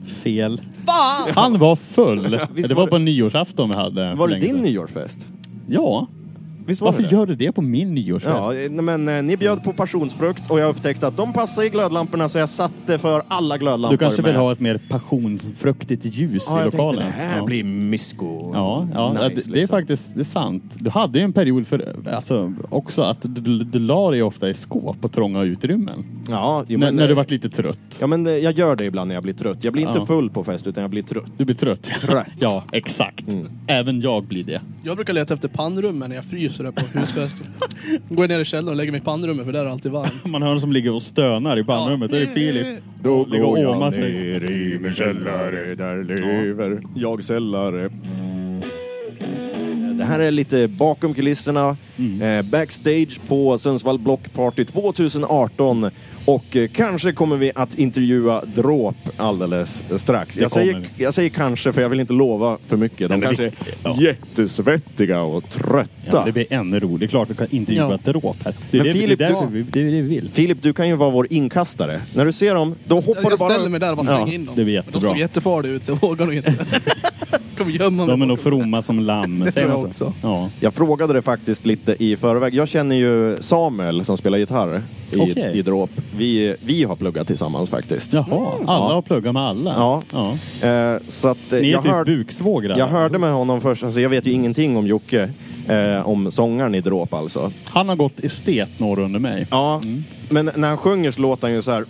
[SPEAKER 2] Fel.
[SPEAKER 9] Fan!
[SPEAKER 2] Han var full.
[SPEAKER 1] visst
[SPEAKER 2] det
[SPEAKER 1] var
[SPEAKER 2] var
[SPEAKER 1] det-
[SPEAKER 2] på nyårsafton vi hade. för
[SPEAKER 1] Var det
[SPEAKER 2] länge
[SPEAKER 1] din
[SPEAKER 2] sedan.
[SPEAKER 1] nyårsfest?
[SPEAKER 2] Ja.
[SPEAKER 1] Visst var
[SPEAKER 2] Varför
[SPEAKER 1] det det?
[SPEAKER 2] gör du det på min nyårsfest?
[SPEAKER 1] Ja, eh, nej, men eh, ni bjöd på passionsfrukt och jag upptäckte att de passar i glödlamporna så jag satte för alla glödlampor.
[SPEAKER 2] du kanske vill
[SPEAKER 1] med.
[SPEAKER 2] ha ett mer passionsfruktigt ljus
[SPEAKER 1] ja,
[SPEAKER 2] i
[SPEAKER 1] jag
[SPEAKER 2] lokalen?
[SPEAKER 1] Tänkte, det här
[SPEAKER 2] ja.
[SPEAKER 1] blir mysko.
[SPEAKER 2] Ja, ja
[SPEAKER 1] Nice,
[SPEAKER 2] det, det är
[SPEAKER 1] liksom.
[SPEAKER 2] faktiskt det är sant. Du hade ju en period för, alltså, också att du, du, du la dig ofta i skåp och trånga utrymmen.
[SPEAKER 1] Ja, jo,
[SPEAKER 2] när,
[SPEAKER 1] men,
[SPEAKER 2] när du
[SPEAKER 1] eh,
[SPEAKER 2] varit lite trött.
[SPEAKER 1] Ja, men eh, jag gör det ibland när jag blir trött. Jag blir inte
[SPEAKER 2] Ja.
[SPEAKER 1] full på fest, utan jag blir trött.
[SPEAKER 2] Du blir trött.
[SPEAKER 1] Trött.
[SPEAKER 2] ja, exakt.
[SPEAKER 1] Mm.
[SPEAKER 2] Även jag blir det.
[SPEAKER 11] Jag brukar leta efter pannrummen när jag fryser där på husfester. Går jag ner i källaren och lägger mig i pannrummet för där är det alltid varmt.
[SPEAKER 2] Man hör någon som ligger och stönar i pannrummet. Då är det Filip.
[SPEAKER 1] Då
[SPEAKER 2] Ligger och
[SPEAKER 1] går
[SPEAKER 2] åmar
[SPEAKER 1] jag
[SPEAKER 2] sig.
[SPEAKER 1] ner i min källare, där lever jag sällare. Eh, Det här är lite bakom kulisserna, eh, backstage på Sundsvall Block Party 2018. Och eh, kanske kommer vi att intervjua Dråp alldeles strax. Jag
[SPEAKER 2] kommer
[SPEAKER 1] säger, jag säger kanske, för jag vill inte lova för mycket. De
[SPEAKER 2] men
[SPEAKER 1] kanske
[SPEAKER 2] vi-
[SPEAKER 1] är
[SPEAKER 2] ja.
[SPEAKER 1] jättesvettiga och trötta.
[SPEAKER 2] Ja, det blir ännu roligare. Det är klart du kan intervjua
[SPEAKER 11] Ja.
[SPEAKER 2] ett råp här. Det är,
[SPEAKER 1] Men
[SPEAKER 2] det,
[SPEAKER 1] Filip,
[SPEAKER 2] det är därför
[SPEAKER 1] du-
[SPEAKER 2] vi, det är det vi vill.
[SPEAKER 1] Filip, du kan ju vara vår inkastare. När du ser dem, då hoppar du
[SPEAKER 11] Jag
[SPEAKER 1] bara...
[SPEAKER 11] ställer mig där och bara slänger in dem.
[SPEAKER 2] det blir
[SPEAKER 11] De
[SPEAKER 2] jättebra.
[SPEAKER 11] såg jättefarliga ut så jag vågar
[SPEAKER 2] *laughs*
[SPEAKER 11] nog inte. Kommer gömma mig.
[SPEAKER 2] De är nog
[SPEAKER 11] bakom.
[SPEAKER 2] fromma som lamm.
[SPEAKER 11] Det
[SPEAKER 2] Säger
[SPEAKER 11] tror jag
[SPEAKER 2] man så?
[SPEAKER 11] också.
[SPEAKER 2] Ja.
[SPEAKER 1] Jag frågade det faktiskt lite i förväg. Jag känner ju Samuel som spelar gitarr i,
[SPEAKER 2] Okej.
[SPEAKER 1] i Dråp. Vi, vi har pluggat tillsammans faktiskt.
[SPEAKER 2] Jaha, alla
[SPEAKER 1] Ja.
[SPEAKER 2] har pluggat med alla.
[SPEAKER 1] Ja.
[SPEAKER 2] ja.
[SPEAKER 1] Eh, så att, eh,
[SPEAKER 2] Ni är
[SPEAKER 1] jag,
[SPEAKER 2] typ
[SPEAKER 1] hör,
[SPEAKER 2] buksvågrar.
[SPEAKER 1] jag hörde med honom först, alltså jag vet ju ingenting om Jocke, eh, om sångaren i Dråp alltså.
[SPEAKER 2] Han har gått estet norr under mig.
[SPEAKER 1] Ja, men när han sjunger så låter han ju så här.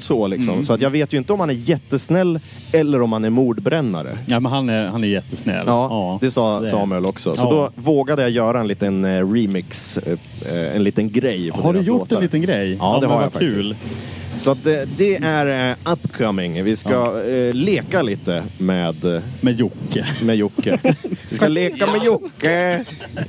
[SPEAKER 1] Så liksom. Så att jag vet ju inte om han är jättesnäll eller om han är mordbrännare.
[SPEAKER 2] Ja, men han är, han är jättesnäll.
[SPEAKER 1] Ja, det sa
[SPEAKER 2] det är.
[SPEAKER 1] Samuel också. Så
[SPEAKER 2] Ja.
[SPEAKER 1] då vågade jag göra en liten eh, remix, eh, eh, en liten grej på
[SPEAKER 2] Har du
[SPEAKER 1] deras
[SPEAKER 2] gjort
[SPEAKER 1] låtar.
[SPEAKER 2] en liten grej?
[SPEAKER 1] Ja, det
[SPEAKER 2] men
[SPEAKER 1] har
[SPEAKER 2] vad
[SPEAKER 1] jag faktiskt.
[SPEAKER 2] kul.
[SPEAKER 1] Så att det, det är eh, upcoming. Vi ska eh, leka lite med, eh,
[SPEAKER 2] Med Jocke. *laughs*
[SPEAKER 1] med Jocke. Vi ska leka med Jocke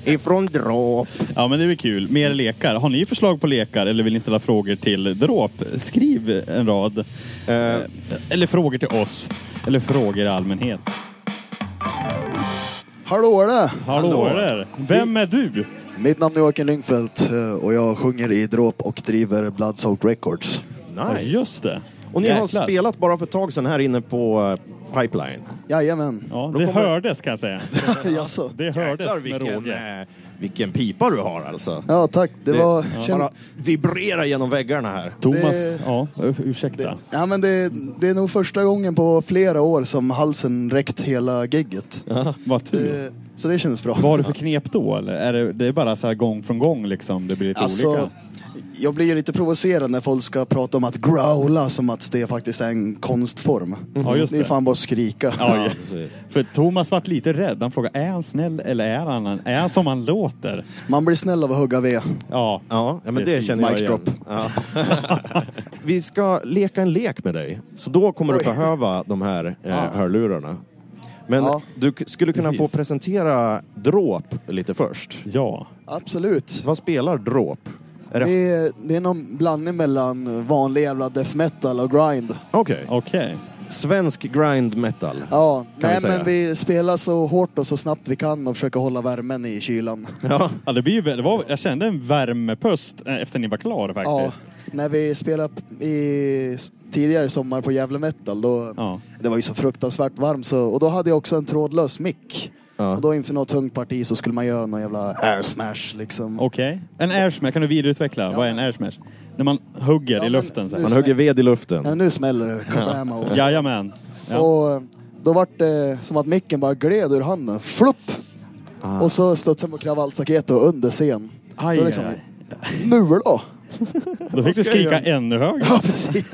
[SPEAKER 1] ifrån Dråp.
[SPEAKER 2] Ja, men det är kul. Mer lekar. Har ni förslag på lekar eller vill ni ställa frågor till Dråp? Skriv en rad.
[SPEAKER 1] Eh,
[SPEAKER 2] Eller frågor till oss. Eller frågor i allmänhet.
[SPEAKER 5] Hallå där!
[SPEAKER 2] Hallå där! Vem är du?
[SPEAKER 5] Mitt namn är Joakim Lyngfeldt eh, och jag sjunger i Dråp och driver Blood Soaked Records.
[SPEAKER 2] Ja,
[SPEAKER 1] Nice.
[SPEAKER 2] just det.
[SPEAKER 1] Och ni har
[SPEAKER 2] Jäklar.
[SPEAKER 1] spelat bara för ett tag sedan här inne på eh, Pipeline.
[SPEAKER 5] Jajamän.
[SPEAKER 2] Ja,
[SPEAKER 1] Då
[SPEAKER 2] det
[SPEAKER 1] kommer-
[SPEAKER 2] hördes kan
[SPEAKER 1] *laughs*
[SPEAKER 2] jag säga.
[SPEAKER 5] *laughs* Jaså?
[SPEAKER 2] Det
[SPEAKER 1] Jäklar,
[SPEAKER 2] hördes med
[SPEAKER 1] vilken,
[SPEAKER 2] råge.
[SPEAKER 1] eh, vilken pipa du har alltså.
[SPEAKER 5] Ja, tack. Det var...
[SPEAKER 1] det,
[SPEAKER 5] känn-
[SPEAKER 1] bara vibrerar genom väggarna här.
[SPEAKER 2] Thomas,
[SPEAKER 5] det-
[SPEAKER 2] ja, ursäkta.
[SPEAKER 5] Ja, men det, det är nog första gången på flera år som halsen räckt hela gigget.
[SPEAKER 2] Vad tur.
[SPEAKER 5] Det, så det kändes bra.
[SPEAKER 2] Vad har du för knep då? Eller är det, det är bara så här gång från gång liksom? Det blir lite olika?
[SPEAKER 5] Alltså, jag blir ju lite provocerad när folk ska prata om att growla som att det faktiskt är en konstform.
[SPEAKER 2] Ja, just
[SPEAKER 5] det är
[SPEAKER 2] det.
[SPEAKER 5] fan bara att skrika.
[SPEAKER 2] Ja, *laughs* För Thomas vart lite rädd. Han frågade, är han snäll eller är han, är han som han låter?
[SPEAKER 5] Man blir snäll av att hugga ved.
[SPEAKER 2] Ja.
[SPEAKER 1] Ja, ja men det
[SPEAKER 2] Precis.
[SPEAKER 1] känner jag
[SPEAKER 5] Mic
[SPEAKER 1] igen.
[SPEAKER 5] drop.
[SPEAKER 1] Ja.
[SPEAKER 5] *laughs*
[SPEAKER 1] Vi ska leka en lek med dig. Så då kommer du
[SPEAKER 5] Oj.
[SPEAKER 1] behöva de här eh, hörlurarna. Men
[SPEAKER 5] Ja.
[SPEAKER 1] du k- skulle kunna
[SPEAKER 2] Precis.
[SPEAKER 1] få presentera Dråp lite först.
[SPEAKER 2] Ja.
[SPEAKER 5] Absolut.
[SPEAKER 1] Vad spelar Dråp? Är det...
[SPEAKER 5] Det är, det är någon blandning mellan vanlig jävla death metal och grind.
[SPEAKER 1] Okej.
[SPEAKER 2] Okej.
[SPEAKER 1] Svensk grind metal.
[SPEAKER 5] Ja,
[SPEAKER 1] Kan
[SPEAKER 5] nej
[SPEAKER 1] vi säga.
[SPEAKER 5] men vi spelar så hårt och så snabbt vi kan och försöker hålla värmen i kylan.
[SPEAKER 2] Ja, det blir ju, det var, jag kände en värmepust eh, efter ni var klara
[SPEAKER 5] Ja,
[SPEAKER 2] faktiskt.
[SPEAKER 5] när vi spelade p- i s- tidigare sommar på Gävle Metal då
[SPEAKER 2] Ja.
[SPEAKER 5] det var ju så fruktansvärt varmt så, och då hade jag också en trådlös mick.
[SPEAKER 1] Ja.
[SPEAKER 5] Och då inför något tungt parti så skulle man göra någon jävla air smash liksom.
[SPEAKER 2] Okej. En airsmash, kan du vidareutveckla? Vad är en airsmash? När man hugger
[SPEAKER 5] Ja,
[SPEAKER 2] i
[SPEAKER 5] men
[SPEAKER 2] luften så här.
[SPEAKER 5] nu-
[SPEAKER 1] Man hugger ved i luften.
[SPEAKER 5] Ja, nu smäller det. Kabam, och,
[SPEAKER 2] Jajamän. Ja.
[SPEAKER 5] och eh, då var det som att micken bara gled ur handen. Flupp! Och så studsade den på kravallstaketet och under scen.
[SPEAKER 2] Aj,
[SPEAKER 5] så liksom,
[SPEAKER 2] aj,
[SPEAKER 5] nu då?
[SPEAKER 2] Då fick du
[SPEAKER 1] ska jag
[SPEAKER 2] skrika
[SPEAKER 1] göra?
[SPEAKER 2] ännu högre.
[SPEAKER 5] Ja, precis.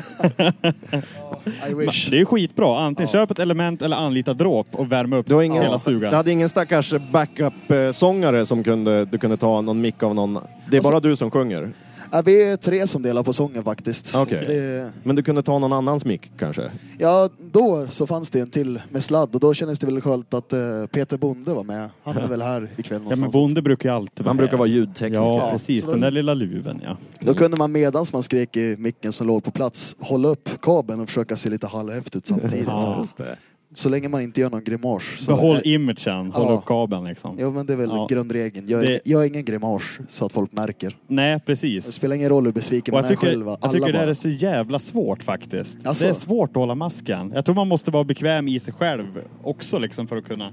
[SPEAKER 5] Ja, I wish.
[SPEAKER 2] Det är ju skitbra. Antingen köp ett element eller anlita dråp och värma upp
[SPEAKER 1] Du, har ingen,
[SPEAKER 2] hela
[SPEAKER 1] du
[SPEAKER 2] stugan.
[SPEAKER 1] hade ingen stackars backup-sångare som kunde, du kunde ta någon mick av någon. Det är bara
[SPEAKER 5] Alltså-
[SPEAKER 1] du som sjunger.
[SPEAKER 5] Ja, vi är tre som delar på sången faktiskt.
[SPEAKER 1] Okej.
[SPEAKER 5] Det,
[SPEAKER 1] Men du kunde ta någon annans mick kanske?
[SPEAKER 5] ja, då så fanns det en till med sladd och då kändes det väl skönt att eh, Peter Bonde var med. Han är väl här ikväll
[SPEAKER 2] Ja, men
[SPEAKER 5] någonstans.
[SPEAKER 2] bonde brukar ju alltid
[SPEAKER 1] Han brukar
[SPEAKER 2] här.
[SPEAKER 1] vara ljudtekniker.
[SPEAKER 2] Ja,
[SPEAKER 5] Ja,
[SPEAKER 2] precis.
[SPEAKER 5] så
[SPEAKER 2] Den
[SPEAKER 5] då-
[SPEAKER 2] där lilla luven, ja.
[SPEAKER 5] Då kunde man medans man skrek i micken som låg på plats hålla upp kabeln och försöka se lite halvhäftigt ut
[SPEAKER 1] *laughs*
[SPEAKER 5] samtidigt.
[SPEAKER 2] Ja.
[SPEAKER 5] så, så länge man inte gör någon grimas. Så
[SPEAKER 2] Behåll imagen, håll
[SPEAKER 5] Ja.
[SPEAKER 2] upp kabeln liksom.
[SPEAKER 5] Jo men det är väl
[SPEAKER 2] Ja.
[SPEAKER 5] grundregeln. Gör,
[SPEAKER 2] Det-
[SPEAKER 5] gör ingen grimas så att folk märker.
[SPEAKER 2] Nej,
[SPEAKER 5] Det
[SPEAKER 2] precis.
[SPEAKER 5] spelar ingen roll hur besviken
[SPEAKER 2] Och
[SPEAKER 5] man
[SPEAKER 2] jag
[SPEAKER 5] är
[SPEAKER 2] tycker,
[SPEAKER 5] själv. va?
[SPEAKER 2] jag
[SPEAKER 5] Alla
[SPEAKER 2] tycker det här
[SPEAKER 5] bara,
[SPEAKER 2] är så jävla svårt faktiskt.
[SPEAKER 5] Alltså?
[SPEAKER 2] Det är svårt att hålla masken. Jag tror man måste vara bekväm i sig själv också liksom för att kunna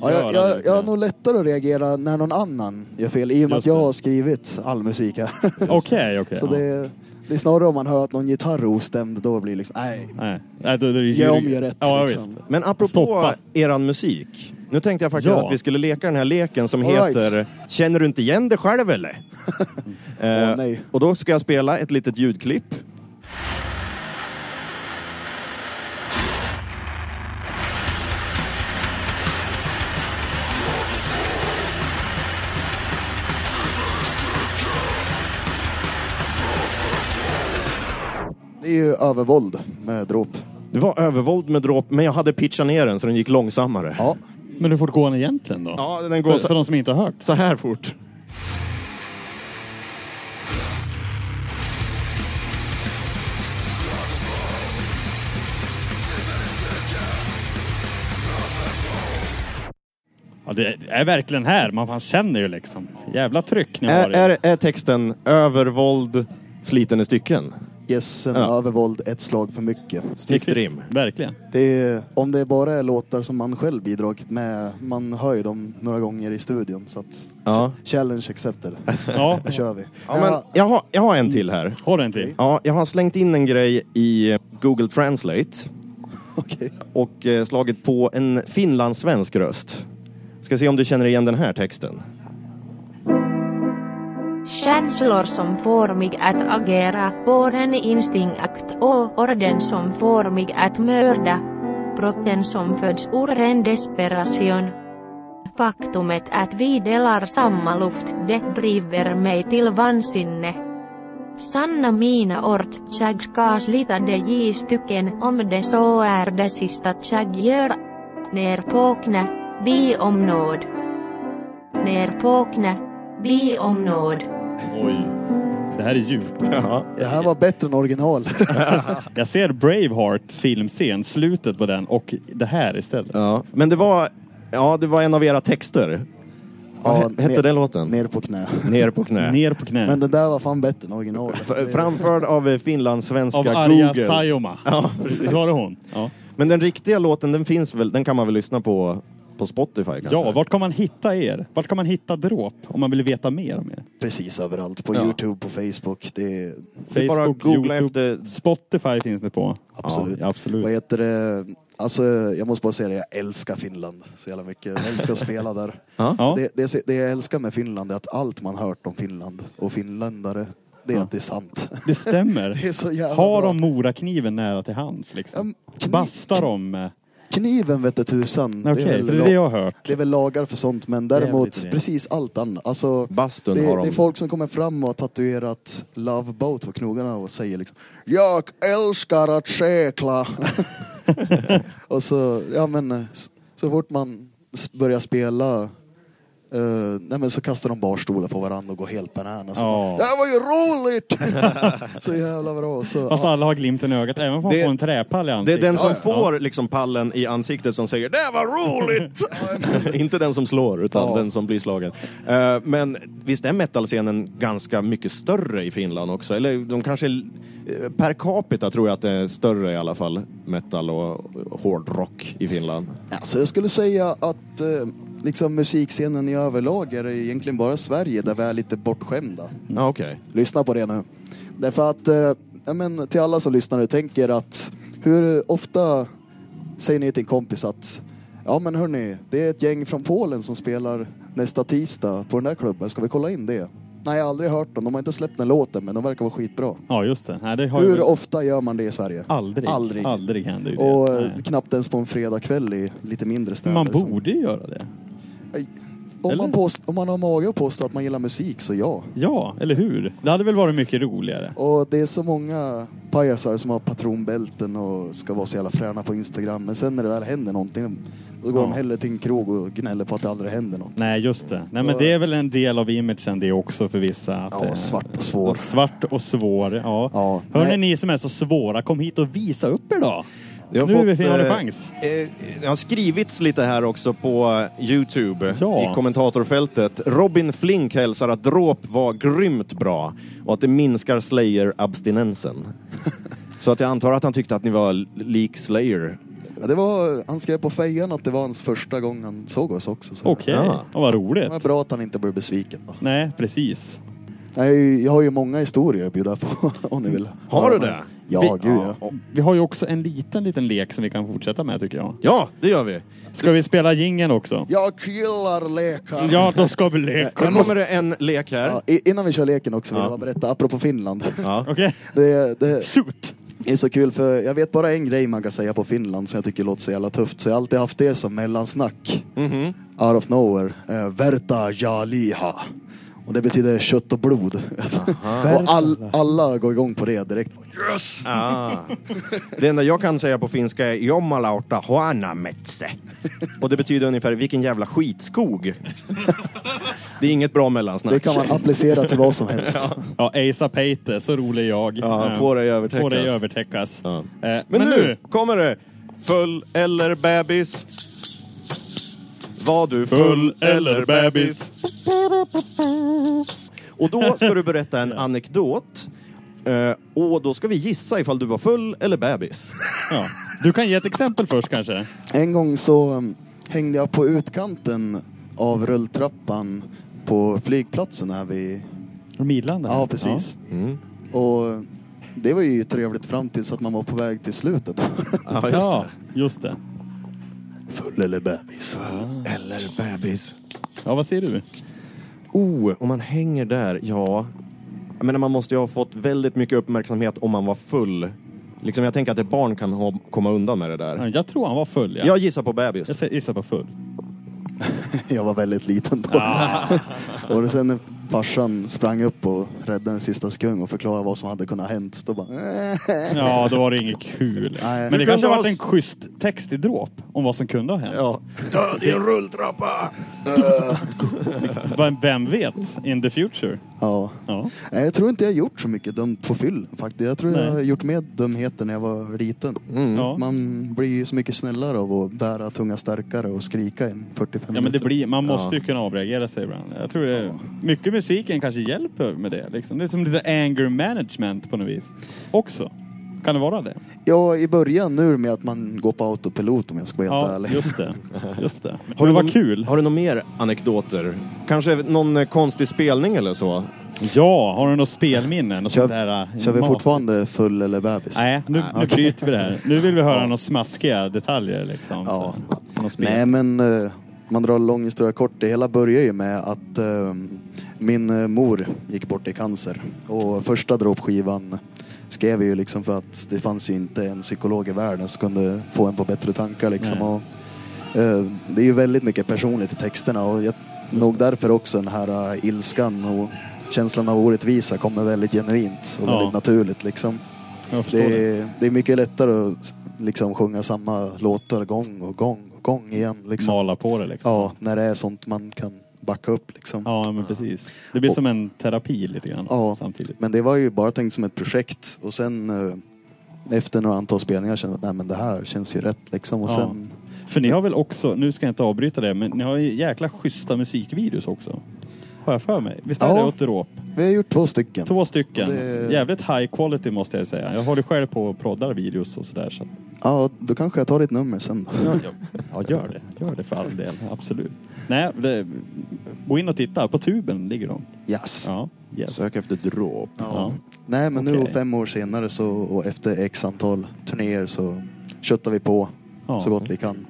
[SPEAKER 5] Ja, jag,
[SPEAKER 1] göra
[SPEAKER 5] jag, jag har nog lättare att reagera när någon annan gör fel i och med
[SPEAKER 1] Just
[SPEAKER 5] att jag har skrivit all
[SPEAKER 2] *laughs*
[SPEAKER 5] musik här.
[SPEAKER 11] Okej, okej.
[SPEAKER 5] Så
[SPEAKER 11] ja.
[SPEAKER 5] det, det är snarare om man hör att någon gitarr är ostämd, då blir det liksom, nej.
[SPEAKER 11] Nej. Nej, då, då, då,
[SPEAKER 5] Ge om, gör rätt,
[SPEAKER 11] Ja,
[SPEAKER 5] liksom.
[SPEAKER 11] visst.
[SPEAKER 1] Men apropå
[SPEAKER 11] Stoppa.
[SPEAKER 1] eran musik. Nu tänkte jag faktiskt
[SPEAKER 11] Ja.
[SPEAKER 1] att vi skulle leka den här leken som
[SPEAKER 5] All right.
[SPEAKER 1] heter Känner du inte igen dig själv
[SPEAKER 5] *laughs*
[SPEAKER 1] eller? Eh, och då ska jag spela ett litet ljudklipp.
[SPEAKER 5] Det är ju övervåld med dråp.
[SPEAKER 1] Det var övervåld med dråp, men jag hade pitchat ner den så den gick långsammare.
[SPEAKER 5] Ja.
[SPEAKER 2] Men hur fort går den egentligen då?
[SPEAKER 1] Ja, den går
[SPEAKER 2] för,
[SPEAKER 1] så-
[SPEAKER 2] för de som inte har hört.
[SPEAKER 1] Så här fort.
[SPEAKER 2] Ja, det är verkligen här. Man, man känner ju liksom. Jävla tryck ni har.
[SPEAKER 1] Är,
[SPEAKER 2] i-
[SPEAKER 1] är, är texten övervåld sliten i stycken?
[SPEAKER 5] Yes, en
[SPEAKER 1] Ja.
[SPEAKER 5] övervåld, ett slag för mycket.
[SPEAKER 1] Snyggt rim.
[SPEAKER 2] Verkligen.
[SPEAKER 5] Det är, om det bara är låtar som man själv bidragit med, man hör ju dem några gånger i studion. Så att
[SPEAKER 1] Ja.
[SPEAKER 5] challenge accepted.
[SPEAKER 2] Ja.
[SPEAKER 5] Då kör vi.
[SPEAKER 1] Ja, men jag, har, jag har en till här.
[SPEAKER 2] Har du en till?
[SPEAKER 1] Ja, jag har slängt in en grej i Google Translate. Och eh, slagit på en finlandssvensk röst. Ska se om du känner igen den här texten.
[SPEAKER 12] Känslor som får mig att agera, våren instinkt och orden som får mig att mörda. Brotten som föds ur en desperation. Faktumet att vi delar samma luft, det driver mig till vansinne. Sanna mina ord, jag ska slita det i stycken om det så är det sista jag gör. När påkna, vi om nåd. När påkna, vi om nåd.
[SPEAKER 2] Oj. Det här är djupt.
[SPEAKER 5] Det här var bättre än original.
[SPEAKER 2] Jag ser Braveheart filmscen, slutet på den och det här istället.
[SPEAKER 1] Ja, men det var, ja, det var en av era texter. Vad he- hette
[SPEAKER 5] ner-
[SPEAKER 1] den låten?
[SPEAKER 5] Ner på knä.
[SPEAKER 1] Ner på knä.
[SPEAKER 2] Ner på knä.
[SPEAKER 5] Men den där var fan bättre än original.
[SPEAKER 1] F- Framförd av eh, finlandssvenska
[SPEAKER 2] Av
[SPEAKER 1] Google.
[SPEAKER 2] Arja Saijonmaa.
[SPEAKER 1] Ja, precis.
[SPEAKER 2] Visst var det hon?
[SPEAKER 1] *laughs* Men den riktiga låten, den finns väl, den kan man väl lyssna på på Spotify kanske?
[SPEAKER 2] Ja, vart kan man hitta er? Vart kan man hitta Dråp om man vill veta mer om er?
[SPEAKER 5] Precis överallt. På
[SPEAKER 2] Ja.
[SPEAKER 5] Youtube, på Facebook. Det är...
[SPEAKER 2] Facebook, Youtube, Spotify finns det på.
[SPEAKER 5] Absolut.
[SPEAKER 2] Ja, absolut.
[SPEAKER 5] Vad heter det? Alltså, jag måste bara säga det, jag älskar Finland så jävla mycket. Jag älskar att spela där.
[SPEAKER 2] Ja.
[SPEAKER 5] Det, det, det jag älskar med Finland är att allt man hört om Finland och finländare, det är att det är sant.
[SPEAKER 2] Det stämmer.
[SPEAKER 5] *laughs* Det är så jävla
[SPEAKER 2] Har
[SPEAKER 5] bra.
[SPEAKER 2] de Morakniven nära till hands? Liksom? Bastar de? eh,
[SPEAKER 5] Kniven vete tusan.
[SPEAKER 2] Okej,
[SPEAKER 5] väl
[SPEAKER 2] för det är
[SPEAKER 5] la-
[SPEAKER 2] det jag har hört.
[SPEAKER 5] Det är väl lagar för sånt, men
[SPEAKER 2] Det är väl
[SPEAKER 5] däremot
[SPEAKER 2] lite det.
[SPEAKER 5] precis allt annat. Alltså,
[SPEAKER 1] Bastun
[SPEAKER 5] det,
[SPEAKER 1] har
[SPEAKER 5] det
[SPEAKER 1] de.
[SPEAKER 5] är folk som kommer fram och har tatuerat Love Boat på knogarna och säger liksom Jag älskar att *laughs* sekla. och så, ja men, eh, s- så fort man s- börjar spela eh, nej men så kastar de barstolar på varandra och går helt bananas.
[SPEAKER 2] Ja.
[SPEAKER 5] Det här var ju roligt! *laughs* så jävla bra. Så,
[SPEAKER 2] Fast
[SPEAKER 5] ja.
[SPEAKER 2] alla har glimten i ögat, även om man
[SPEAKER 5] Det-
[SPEAKER 2] får en träpall i
[SPEAKER 1] Det är
[SPEAKER 2] ansiktet.
[SPEAKER 1] den som
[SPEAKER 2] Ja, ja.
[SPEAKER 1] får liksom pallen i ansiktet som säger det var
[SPEAKER 2] *laughs*
[SPEAKER 1] roligt! *laughs* Inte den som slår, utan
[SPEAKER 2] Ja.
[SPEAKER 1] den som blir slagen. Eh, men visst är metalscenen ganska mycket större i Finland också? Eller de kanske, eh, per capita tror jag att det är större i alla fall, metal och och hårdrock i Finland.
[SPEAKER 5] Alltså jag skulle säga att eh, liksom musikscenen i överlag är det egentligen bara Sverige där vi är lite bortskämda.
[SPEAKER 1] Ja, okej.
[SPEAKER 5] Lyssna på det nu. Därför att, eh, ja, men till alla som lyssnar och tänker att hur ofta säger ni till en kompis att ja men hörni, det är ett gäng från Polen som spelar nästa tisdag på den där klubben, ska vi kolla in det? Nej, jag har aldrig hört dem. De har inte släppt den låten, men de verkar vara skitbra.
[SPEAKER 2] Ja, just det. Nej, det har
[SPEAKER 5] Hur
[SPEAKER 2] ju...
[SPEAKER 5] ofta gör man det i Sverige?
[SPEAKER 2] Aldrig.
[SPEAKER 5] Aldrig.
[SPEAKER 2] Aldrig händer ju det.
[SPEAKER 5] Och eh,
[SPEAKER 2] Nej.
[SPEAKER 5] knappt ens på en fredagkväll i lite mindre städer.
[SPEAKER 2] Man
[SPEAKER 5] som-
[SPEAKER 2] borde ju göra det.
[SPEAKER 5] Om man, påst- om man har mage att påstå att man gillar musik, så ja.
[SPEAKER 2] Ja, eller hur? Det hade väl varit mycket roligare.
[SPEAKER 5] Och det är så många pajasar som har patronbälten och ska vara så jävla fräna på Instagram. Men sen när det väl händer någonting, då går
[SPEAKER 2] Ja.
[SPEAKER 5] de hellre till en krog och gnäller på att det aldrig händer något.
[SPEAKER 2] Nej, just det. Nej,
[SPEAKER 5] Så-
[SPEAKER 2] men det är väl en del av imagen det också för vissa. Att
[SPEAKER 5] Ja,
[SPEAKER 2] det är-
[SPEAKER 5] svart och svår.
[SPEAKER 2] Svart och svår, ja.
[SPEAKER 5] ja
[SPEAKER 2] Hörni ni som är så svåra, kom hit och visa upp er då.
[SPEAKER 1] Jag har
[SPEAKER 2] nu
[SPEAKER 1] fått,
[SPEAKER 2] vi har ni
[SPEAKER 1] eh,
[SPEAKER 2] chans.
[SPEAKER 1] Det har skrivits lite här också på Youtube i kommentatorfältet. Robin Flink hälsar att dråp var grymt bra och att det minskar Slayer-abstinensen. Så att jag antar att han tyckte att ni var lik Slayer
[SPEAKER 5] Ja, det var, han skrev på fejan att det var hans första gång han såg oss också. så-
[SPEAKER 2] Okej,
[SPEAKER 5] Ja.
[SPEAKER 2] och vad roligt.
[SPEAKER 5] Det var bra att han inte blev besviken. Då.
[SPEAKER 2] Nej, precis.
[SPEAKER 5] Nej, jag har ju många historier att bjuda på *laughs* om ni vill. höra. Ja,
[SPEAKER 2] vi,
[SPEAKER 5] gud ja.
[SPEAKER 2] Vi har ju också en liten, liten lek som vi kan fortsätta med tycker jag.
[SPEAKER 1] Ja, det gör vi.
[SPEAKER 2] Ska vi spela jingeln också?
[SPEAKER 5] Jag gillar lekar.
[SPEAKER 2] Ja, då ska vi leka.
[SPEAKER 5] Jag måste-
[SPEAKER 1] en lek här.
[SPEAKER 5] Ja, i- innan vi kör leken också vill jag bara berätta, apropå Finland.
[SPEAKER 1] Ja.
[SPEAKER 5] Det, det
[SPEAKER 2] Shoot.
[SPEAKER 5] är så kul för jag vet bara en grej man kan säga på Finland som jag tycker låter så jävla tufft. Så jag har alltid haft det som mellansnack. Out of nowhere. Eh, Verta jaliha. Och det betyder kött och blod. *laughs* och all, alla går igång på det direkt.
[SPEAKER 1] Yes! Ah. Det enda jag kan säga på finska är Jommalauta huanametse. Och det betyder ungefär vilken jävla skitskog. Det är inget bra mellansnack.
[SPEAKER 5] Det kan man applicera till vad som helst.
[SPEAKER 1] Ja.
[SPEAKER 2] Ja, Asa Peite, så rolig jag.
[SPEAKER 1] Ja,
[SPEAKER 2] Eh,
[SPEAKER 1] får dig övertäckas.
[SPEAKER 2] Får dig övertäckas. Eh, Men,
[SPEAKER 1] Men, nu,
[SPEAKER 2] nu,
[SPEAKER 1] kommer det. Full eller bebis? Var du
[SPEAKER 2] Full
[SPEAKER 1] full
[SPEAKER 2] eller
[SPEAKER 1] eller
[SPEAKER 2] bebis?
[SPEAKER 1] bebis? *laughs* Och då ska du berätta en anekdot. Eh, Och då ska vi gissa ifall du var full eller bebis.
[SPEAKER 2] Ja. Du kan ge ett exempel först kanske?
[SPEAKER 5] En gång så um, hängde jag på utkanten av rulltrappan på flygplatsen här vid...
[SPEAKER 2] Midlanda?
[SPEAKER 5] Ja, precis. Och det var ju trevligt fram tills att man var på väg till slutet. *laughs*
[SPEAKER 2] Ja, just det.
[SPEAKER 5] Full eller bebis?
[SPEAKER 1] Eller bebis?
[SPEAKER 2] Ja, vad säger du?
[SPEAKER 1] Oh, om man hänger där, ja. Jag menar, man måste ju ha fått väldigt mycket uppmärksamhet om man var full. Liksom, jag tänker att ett barn kan ha, komma undan med det där.
[SPEAKER 2] Jag tror han var full, ja.
[SPEAKER 1] Jag gissar på bebis.
[SPEAKER 2] Jag säger- gissar på full.
[SPEAKER 5] Jag var väldigt liten då.
[SPEAKER 2] Ah.
[SPEAKER 5] *laughs* och sen när farsan sprang upp och räddade en sista skung och förklarade vad som hade kunnat hänt. Då bara...
[SPEAKER 2] Ja, då var det inget kul.
[SPEAKER 5] Nej.
[SPEAKER 2] Men
[SPEAKER 5] Du
[SPEAKER 2] det kanske
[SPEAKER 5] kunde
[SPEAKER 2] har
[SPEAKER 5] ha
[SPEAKER 2] varit en
[SPEAKER 5] s-
[SPEAKER 2] schysst text i dråp om vad som kunde ha hänt.
[SPEAKER 1] Ja. Död i en rulltrappa!
[SPEAKER 2] Vem- Vem vet? In the future.
[SPEAKER 5] Ja.
[SPEAKER 2] Ja.
[SPEAKER 5] Nej, jag tror inte jag gjort så mycket dumt på fyllan faktiskt. Jag tror jag
[SPEAKER 2] Nej. Mm.
[SPEAKER 5] har gjort mer dumheter när jag var liten.
[SPEAKER 2] Ja.
[SPEAKER 5] Man blir ju så mycket snällare av att bära tunga starkare och skrika en 45
[SPEAKER 2] Ja, men det
[SPEAKER 5] minuter.
[SPEAKER 2] blir, man måste ju kunna avreagera sig ibland. Jag tror det, mycket musiken kanske hjälper med det. Liksom. Det är som lite anger management på något vis. Också. Kan det vara det?
[SPEAKER 5] Ja, i början nu med att man går på autopilot om jag ska vara helt
[SPEAKER 2] Ja,
[SPEAKER 5] ärlig.
[SPEAKER 2] just det. Just det.
[SPEAKER 1] Har du, någon,
[SPEAKER 2] kul.
[SPEAKER 1] har du någon mer anekdoter? Kanske någon eh, konstig spelning eller så?
[SPEAKER 2] Ja, har du något spelminne? Något
[SPEAKER 1] Kör-
[SPEAKER 2] sånt där, eh,
[SPEAKER 5] Kör vi
[SPEAKER 2] mat?
[SPEAKER 5] fortfarande full eller bebis?
[SPEAKER 2] Nej, nu, nu
[SPEAKER 5] okej.
[SPEAKER 2] bryter vi det här. Nu vill vi höra några smaskiga detaljer. Liksom, ja.
[SPEAKER 5] Nej, men eh, man drar en lång historia kort. Det hela börjar ju med att eh, min eh, mor gick bort i cancer. Och första dråpskivan skrev vi ju liksom för att det fanns ju inte en psykolog i världen som kunde få en på bättre tankar liksom.
[SPEAKER 2] Nej.
[SPEAKER 5] Och, eh, det är ju väldigt mycket personligt i texterna och jag, nog därför också den här eh, ilskan och känslan av orättvisa kommer väldigt genuint och
[SPEAKER 2] Ja.
[SPEAKER 5] väldigt naturligt liksom.
[SPEAKER 2] Jag förstår
[SPEAKER 5] Det
[SPEAKER 2] det.
[SPEAKER 5] är, det är mycket lättare att s- liksom sjunga samma låtar gång och gång och gång igen. Liksom.
[SPEAKER 2] Mala på det liksom.
[SPEAKER 5] Ja, när det är sånt man kan backa upp liksom.
[SPEAKER 2] Ja, men precis. Det blir som en terapi lite grann
[SPEAKER 5] Ja.
[SPEAKER 2] samtidigt.
[SPEAKER 5] Men det var ju bara tänkt som ett projekt och sen eh, efter några antal spelningar kände jag att nej men det här känns ju rätt liksom. Och
[SPEAKER 2] Ja.
[SPEAKER 5] sen,
[SPEAKER 2] För ni har väl också, nu ska jag inte avbryta det, men ni har ju jäkla schyssta musikvideos också. Har jag för mig. Visst är
[SPEAKER 5] Ja.
[SPEAKER 2] det åt dråp?
[SPEAKER 5] vi har gjort två stycken.
[SPEAKER 2] Två stycken.
[SPEAKER 5] Det-
[SPEAKER 2] Jävligt high quality måste jag säga. Jag håller själv på och proddar videos och sådär. Så. att-
[SPEAKER 5] Ja, då kanske jag tar ditt nummer sen då.
[SPEAKER 2] Ja, gör det. Gör det för all del. Absolut. Nej, det... gå in och titta. På tuben ligger de.
[SPEAKER 5] Yes.
[SPEAKER 2] Ja, yes.
[SPEAKER 1] Sök efter dråp.
[SPEAKER 2] Ja.
[SPEAKER 5] Nej men nu
[SPEAKER 2] Okej.
[SPEAKER 5] fem år senare så, och efter x antal turnéer så köttar vi på
[SPEAKER 2] Ja.
[SPEAKER 5] så gott vi kan.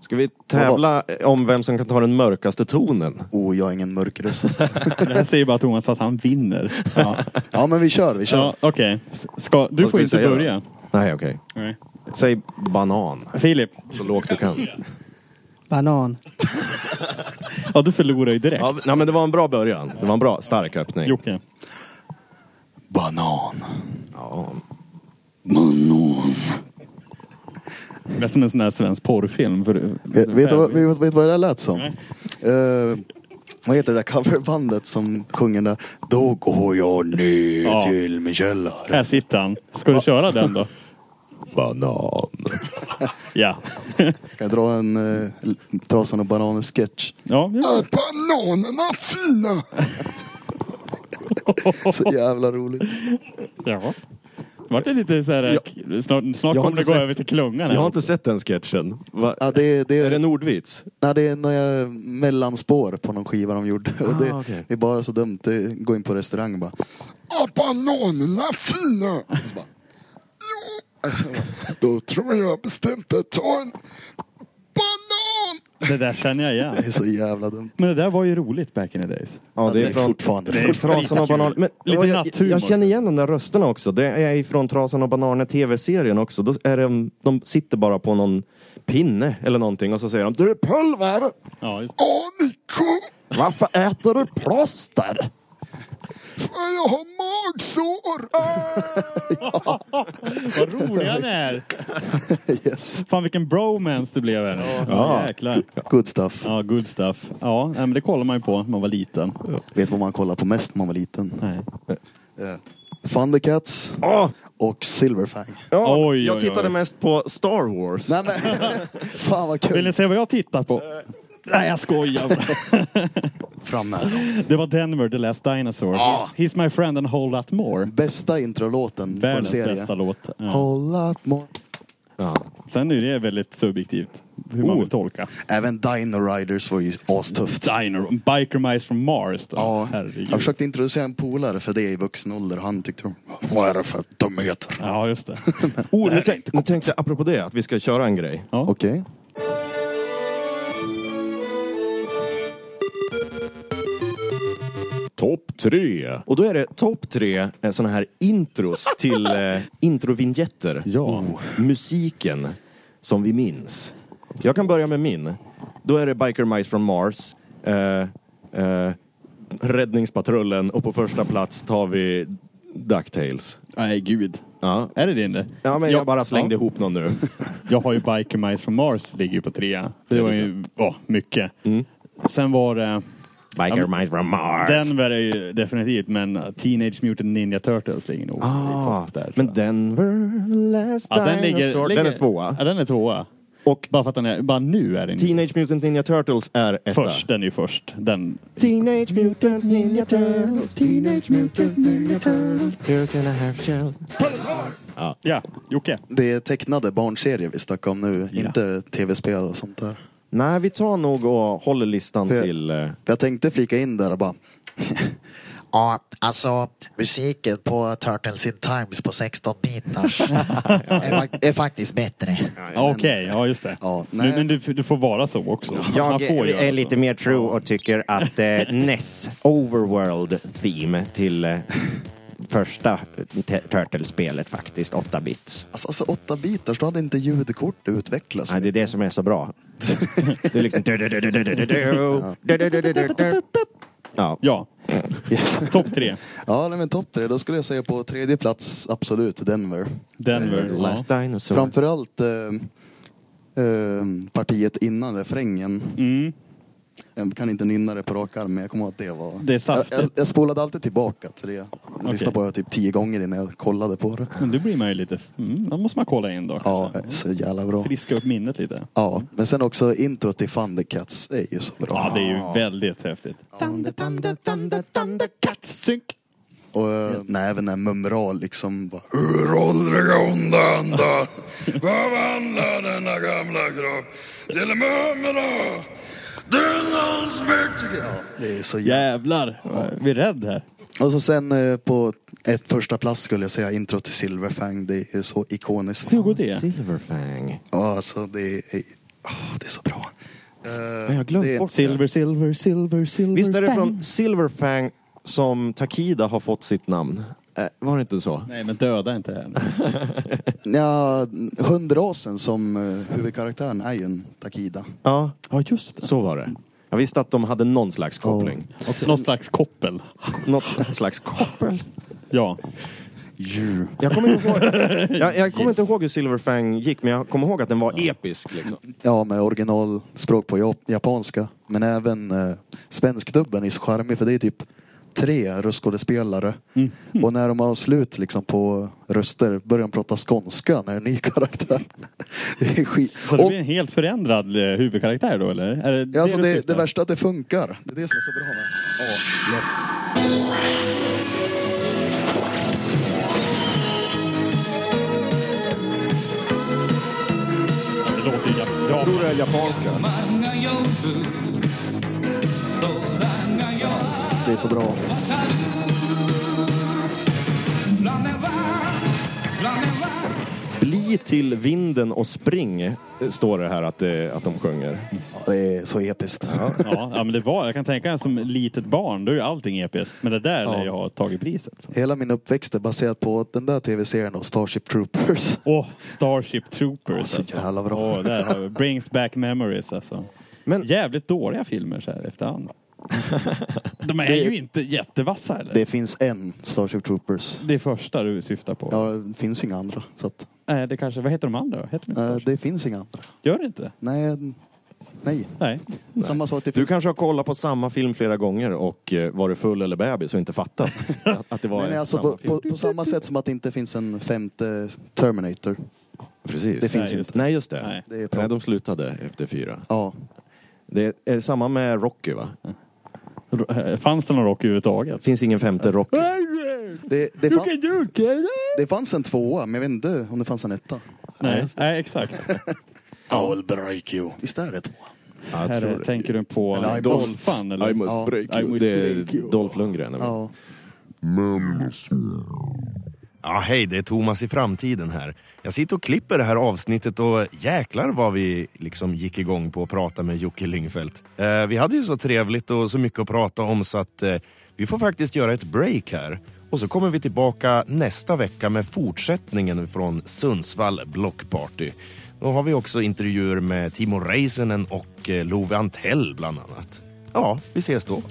[SPEAKER 1] Ska vi tävla eh, om vem som kan ta den mörkaste tonen?
[SPEAKER 5] Oh, jag är ingen mörk röst.
[SPEAKER 2] Det här säger bara Thomas att han vinner.
[SPEAKER 5] Ja, ja men vi kör, vi kör.
[SPEAKER 2] Ja, Okej. Ska- Du
[SPEAKER 1] Vad ska
[SPEAKER 2] får
[SPEAKER 1] vi
[SPEAKER 2] inte
[SPEAKER 1] säga då?
[SPEAKER 2] börja.
[SPEAKER 1] Nej, okej.
[SPEAKER 2] Nej.
[SPEAKER 1] Säg banan.
[SPEAKER 2] Filip.
[SPEAKER 1] Så lågt du kan.
[SPEAKER 7] Banan.
[SPEAKER 2] Ja, du förlorar ju direkt.
[SPEAKER 1] Ja, nej, men det var en bra början. Det var en bra, stark öppning.
[SPEAKER 2] Jocke.
[SPEAKER 5] Banan.
[SPEAKER 1] Ja.
[SPEAKER 2] Banan. Det är som en sån där svensk porrfilm.
[SPEAKER 1] Eh,
[SPEAKER 2] För,
[SPEAKER 5] Vet, vet, du vad- vet, vet du vad det där lät som? Eh, vad heter det där coverbandet som sjunger där? Då går jag ner
[SPEAKER 2] Ja.
[SPEAKER 5] till min källare.
[SPEAKER 2] Här sitter han. Ska du köra den då?
[SPEAKER 1] Banan.
[SPEAKER 2] *laughs* Ja.
[SPEAKER 5] Kan jag dra en
[SPEAKER 11] eh,
[SPEAKER 5] uh, Trasan och bananen-sketch?
[SPEAKER 2] Ja,
[SPEAKER 5] Är bananerna fina? Så jävla roligt.
[SPEAKER 2] ja. Vart det lite så här, snart, snart
[SPEAKER 1] Jag har
[SPEAKER 2] kommer det
[SPEAKER 1] inte
[SPEAKER 2] gå
[SPEAKER 1] sett-
[SPEAKER 2] över till klungan. här
[SPEAKER 1] Jag har
[SPEAKER 2] också.
[SPEAKER 1] inte sett den sketchen. Va?
[SPEAKER 11] Ja, det, det,
[SPEAKER 1] Är det Nordvits?
[SPEAKER 11] Nej, det är några mellanspår på någon skiva de gjorde. och det, det är bara så dumt. Det, gå in på restaurang och bara...
[SPEAKER 13] Åh, bananerna fina! Och så bara, jo. Då tror jag bestämt att ta en banan!
[SPEAKER 2] Det där känner jag igen.
[SPEAKER 11] Det är så jävla dumt.
[SPEAKER 2] Men det där var ju roligt back in the days.
[SPEAKER 1] Ja, det är från Trasan och Banan. Men,
[SPEAKER 2] lite
[SPEAKER 1] jag, jag,
[SPEAKER 2] natthumor.
[SPEAKER 1] jag känner igen de där rösterna också. Det är ifrån Trasan och Bananer tv-serien också. Då är de, de sitter bara på någon pinne eller någonting och så säger de Du är pulver!
[SPEAKER 2] Ja, just
[SPEAKER 13] Åh, Nico!
[SPEAKER 1] Varför äter du plåster?
[SPEAKER 13] För jag har
[SPEAKER 1] *laughs*
[SPEAKER 13] magsår!
[SPEAKER 2] Vad rolig han är!
[SPEAKER 11] *laughs* yes.
[SPEAKER 2] Fan vilken bromance det blev här.
[SPEAKER 11] Ja.
[SPEAKER 2] Jäklar.
[SPEAKER 11] Good stuff.
[SPEAKER 2] Ja, good stuff. Ja, nej, men det kollar man ju på när man var liten.
[SPEAKER 11] Vet vad man kollade på mest när man var liten?
[SPEAKER 2] Nej.
[SPEAKER 11] Thundercats och Silverfang.
[SPEAKER 1] Ja, jag tittade mest på Star Wars.
[SPEAKER 11] Nej, men, fan vad kul.
[SPEAKER 2] Vill ni se vad jag tittar på? Nej, jag skojar
[SPEAKER 11] *laughs* Fram med dem.
[SPEAKER 2] Det var Denver, The Last Dinosaur.
[SPEAKER 11] Ja.
[SPEAKER 2] He's, he's my friend and a whole lot more.
[SPEAKER 11] Bästa introlåten på en
[SPEAKER 2] Världens
[SPEAKER 11] serie.
[SPEAKER 2] bästa låt. Ja.
[SPEAKER 11] Whole lot more.
[SPEAKER 2] Sen är det väldigt subjektivt hur man vill tolka.
[SPEAKER 11] Oh. Även Dino Riders var ju astufft.
[SPEAKER 2] Dino, Biker Mice from Mars då.
[SPEAKER 11] Ja,
[SPEAKER 2] Herregud.
[SPEAKER 11] jag försökte introducera en polare för det i vuxen ålder. Han tyckte de, vad är det för dumheter?
[SPEAKER 2] Ja, just det.
[SPEAKER 1] Oh, nu, tänk, nu tänkte jag apropå det att vi ska köra en grej.
[SPEAKER 11] Okej.
[SPEAKER 1] Topp tre. Och då är det topp tre eh, såna här intros till eh, introvinjetter. Ja. Musiken som vi minns. Jag kan börja med min. Då är det Biker Mice from Mars. Eh, eh, Räddningspatrullen och på första plats tar vi Ducktails.
[SPEAKER 2] Nej, gud.
[SPEAKER 1] Ja.
[SPEAKER 2] Är det din det?
[SPEAKER 1] Ja, men jag bara slängde ihop någon nu.
[SPEAKER 2] jag har ju Biker Mice from Mars, ligger ju på trea. Det var ju ja, mycket.
[SPEAKER 1] Mm.
[SPEAKER 2] Sen var det...
[SPEAKER 1] Biker
[SPEAKER 2] ja, men-
[SPEAKER 1] Mice from Mars.
[SPEAKER 2] Denver är ju definitivt, men uh, Teenage Mutant Ninja Turtles ligger nog i topp där.
[SPEAKER 1] Ah, Men Denver, the last
[SPEAKER 2] Ja, den, ligger,
[SPEAKER 1] dinosaur.
[SPEAKER 2] ligger,
[SPEAKER 1] Den är tvåa.
[SPEAKER 2] Ja, den är tvåa. Och bara för att den är, bara nu är den
[SPEAKER 1] Teenage Mutant Ninja Turtles är etta.
[SPEAKER 2] Först, den är ju först. Den,
[SPEAKER 1] Teenage Mutant Ninja Turtles, Teenage Mutant Ninja Turtles. Here's in a half shell.
[SPEAKER 2] Ja, ja Jocke.
[SPEAKER 11] Det är tecknade barnserier vi snackar om nu, inte tv-spel och sånt där.
[SPEAKER 1] Nej, vi tar nog och håller listan
[SPEAKER 11] För-
[SPEAKER 1] till... eh,
[SPEAKER 11] För jag tänkte flika in där och bara... ja, alltså musiken på Turtles in Times på *laughs* 16-bitars är, faktiskt bättre.
[SPEAKER 2] Ja, Okej, ja just det.
[SPEAKER 11] nej.
[SPEAKER 2] nu, men du, du får vara så också. Man
[SPEAKER 1] Jag
[SPEAKER 2] får göra
[SPEAKER 1] är
[SPEAKER 2] så.
[SPEAKER 1] lite mer true och tycker att eh, Ness Overworld Theme till eh, första te- Turtlespelet faktiskt, 8 bits.
[SPEAKER 11] Alltså, alltså åtta bitar, då hade inte ljudkort utvecklats.
[SPEAKER 1] Nej, det är det som är så *laughs* bra. Det är liksom... Ja.
[SPEAKER 2] ja. *laughs* Topp tre.
[SPEAKER 11] Ja, nej, men topp tre. Då skulle jag säga på tredje plats, absolut, Denver.
[SPEAKER 2] Denver,
[SPEAKER 11] Eh,
[SPEAKER 2] ja.
[SPEAKER 1] Last Dinosaur.
[SPEAKER 11] Framförallt eh, eh, partiet innan refrängen.
[SPEAKER 2] Mm.
[SPEAKER 11] Jag kan inte nynna det på rak arm, men jag kommer ihåg att det var...
[SPEAKER 2] Det är saftigt.
[SPEAKER 11] jag, jag, jag spolade alltid tillbaka till det. Jag
[SPEAKER 2] Okej.
[SPEAKER 11] lyssnade på det typ tio gånger innan jag kollade på det.
[SPEAKER 2] Men då blir man ju lite... Mm, då måste man kolla in då.
[SPEAKER 11] Ja, så jävla bra.
[SPEAKER 2] Friska upp minnet lite.
[SPEAKER 11] Ja, men sen också introt till Thundercats är ju så bra.
[SPEAKER 2] Ja, det är ju väldigt häftigt. Synk.
[SPEAKER 11] Och eh, nej, även när Mumral liksom bara...
[SPEAKER 13] Ur åldriga onda andar förvandla denna gamla kropp till mumra. Den allsmäktige.
[SPEAKER 11] Det är så
[SPEAKER 2] Jävlar, vi är rädd här.
[SPEAKER 11] Och så sen eh, på ett första plats skulle jag säga intro till Silverfang. Det är ju så ikoniskt.
[SPEAKER 2] Hur går det?
[SPEAKER 1] Silverfang.
[SPEAKER 11] Ja, alltså det är, ah, det är så bra. Eh,
[SPEAKER 1] Men jag glömde bort Silver,
[SPEAKER 2] silver, silver, silver
[SPEAKER 1] Visst är det från Silverfang som Takida har fått sitt namn? Eh, var det inte så?
[SPEAKER 2] Nej, men döda inte det *laughs* här nu.
[SPEAKER 11] Ja, hundrasen som eh, huvudkaraktären är ju en Takida.
[SPEAKER 1] Ja,
[SPEAKER 2] ja just
[SPEAKER 1] så var det. Jag visste att de hade någon slags koppling.
[SPEAKER 2] Någon slags koppel.
[SPEAKER 1] Något slags koppel.
[SPEAKER 2] Ja.
[SPEAKER 1] Jag kommer, inte ihåg, jag, jag kommer inte ihåg hur Silverfang gick, men jag kommer ihåg att den var episk. Liksom.
[SPEAKER 11] Ja, med originalspråk på jap- japanska. Men även eh, svenskdubben är så charmig för det är typ tre röstskådespelare.
[SPEAKER 2] Mm.
[SPEAKER 11] Och när de har slut liksom, på röster börjar de prata skånska när det är en ny karaktär. *laughs* det är skit.
[SPEAKER 2] Så det blir en helt förändrad eh, huvudkaraktär då, eller? Är det,
[SPEAKER 11] Ja, alltså
[SPEAKER 2] du
[SPEAKER 11] det,
[SPEAKER 2] syftar?
[SPEAKER 11] det värsta är att det funkar. Det är det som är så bra med oh, yes.
[SPEAKER 1] japanska.
[SPEAKER 11] Det är så bra.
[SPEAKER 1] Bli till vinden och spring, eh, står det här att, det- att de sjunger.
[SPEAKER 11] Ja, det är så episkt.
[SPEAKER 2] Ja, ja, men det var, jag kan tänka mig som litet barn, då är ju allting episkt. Men det där är
[SPEAKER 11] Ja.
[SPEAKER 2] jag har tagit priset.
[SPEAKER 11] Hela min uppväxt är baserad på den där tv-serien och Starship Troopers.
[SPEAKER 2] Åh, Starship Troopers. alltså.
[SPEAKER 11] så jävla bra.
[SPEAKER 2] Åh, där har vi. Brings back memories alltså. Jävligt dåliga filmer så här
[SPEAKER 11] *laughs*
[SPEAKER 2] efterhand. De är
[SPEAKER 11] Det-
[SPEAKER 2] ju inte jättevassa eller?
[SPEAKER 11] Det finns en Starship Troopers.
[SPEAKER 2] Det är första du syftar på?
[SPEAKER 11] Ja, det finns inga andra. Så att,
[SPEAKER 2] Nej, det kanske, vad heter de andra då? Heter de inte
[SPEAKER 11] eh,
[SPEAKER 2] Starship?
[SPEAKER 11] det finns inga andra.
[SPEAKER 2] Gör det inte?
[SPEAKER 11] Nej. Nej.
[SPEAKER 2] Nej.
[SPEAKER 11] Samma sak.
[SPEAKER 1] Du kanske har kollat på samma film flera gånger och eh, varit full eller bebis och inte fattat att- att det
[SPEAKER 11] *laughs*
[SPEAKER 1] var
[SPEAKER 11] Men
[SPEAKER 1] en-
[SPEAKER 11] alltså
[SPEAKER 1] samma
[SPEAKER 11] på,
[SPEAKER 1] film.
[SPEAKER 11] på, på samma sätt som att det inte finns en femte Terminator.
[SPEAKER 1] Precis.
[SPEAKER 11] Det finns
[SPEAKER 1] Nej,
[SPEAKER 11] inte.
[SPEAKER 1] Nej, just det.
[SPEAKER 11] Nej.
[SPEAKER 1] Nej.
[SPEAKER 11] Det är bra.
[SPEAKER 1] de slutade efter fyra.
[SPEAKER 11] Ja.
[SPEAKER 1] Det är samma med Rocky, va?
[SPEAKER 2] eh, Fanns det någon Rocky överhuvudtaget?
[SPEAKER 1] Finns ingen femte Rocky.
[SPEAKER 11] Det, det, fan, det fanns en tvåa, men jag vet inte om det fanns en etta.
[SPEAKER 2] Nej, nej exakt.
[SPEAKER 11] I will break you. Visst är det tvåa?
[SPEAKER 1] jag
[SPEAKER 2] Här
[SPEAKER 1] tror
[SPEAKER 2] är-
[SPEAKER 1] det.
[SPEAKER 2] tänker du på
[SPEAKER 11] Eller I must-
[SPEAKER 2] Dolphan? Eller?
[SPEAKER 11] I must Ja. break
[SPEAKER 1] you. Det är Dolph Lundgren. eller?
[SPEAKER 11] Ja.
[SPEAKER 1] Ja, hej, det är Thomas i framtiden här. Jag sitter och klipper det här avsnittet och jäklar vad vi liksom gick igång på att prata med Jocke Lyngfeldt. Eh, vi hade ju så trevligt och så mycket att prata om så att eh, vi får faktiskt göra ett break här. Och så kommer vi tillbaka nästa vecka med fortsättningen från Sundsvall Block Party. Då har vi också intervjuer med Timo Reisenen och eh, Love Antell bland annat. Ja, vi ses då.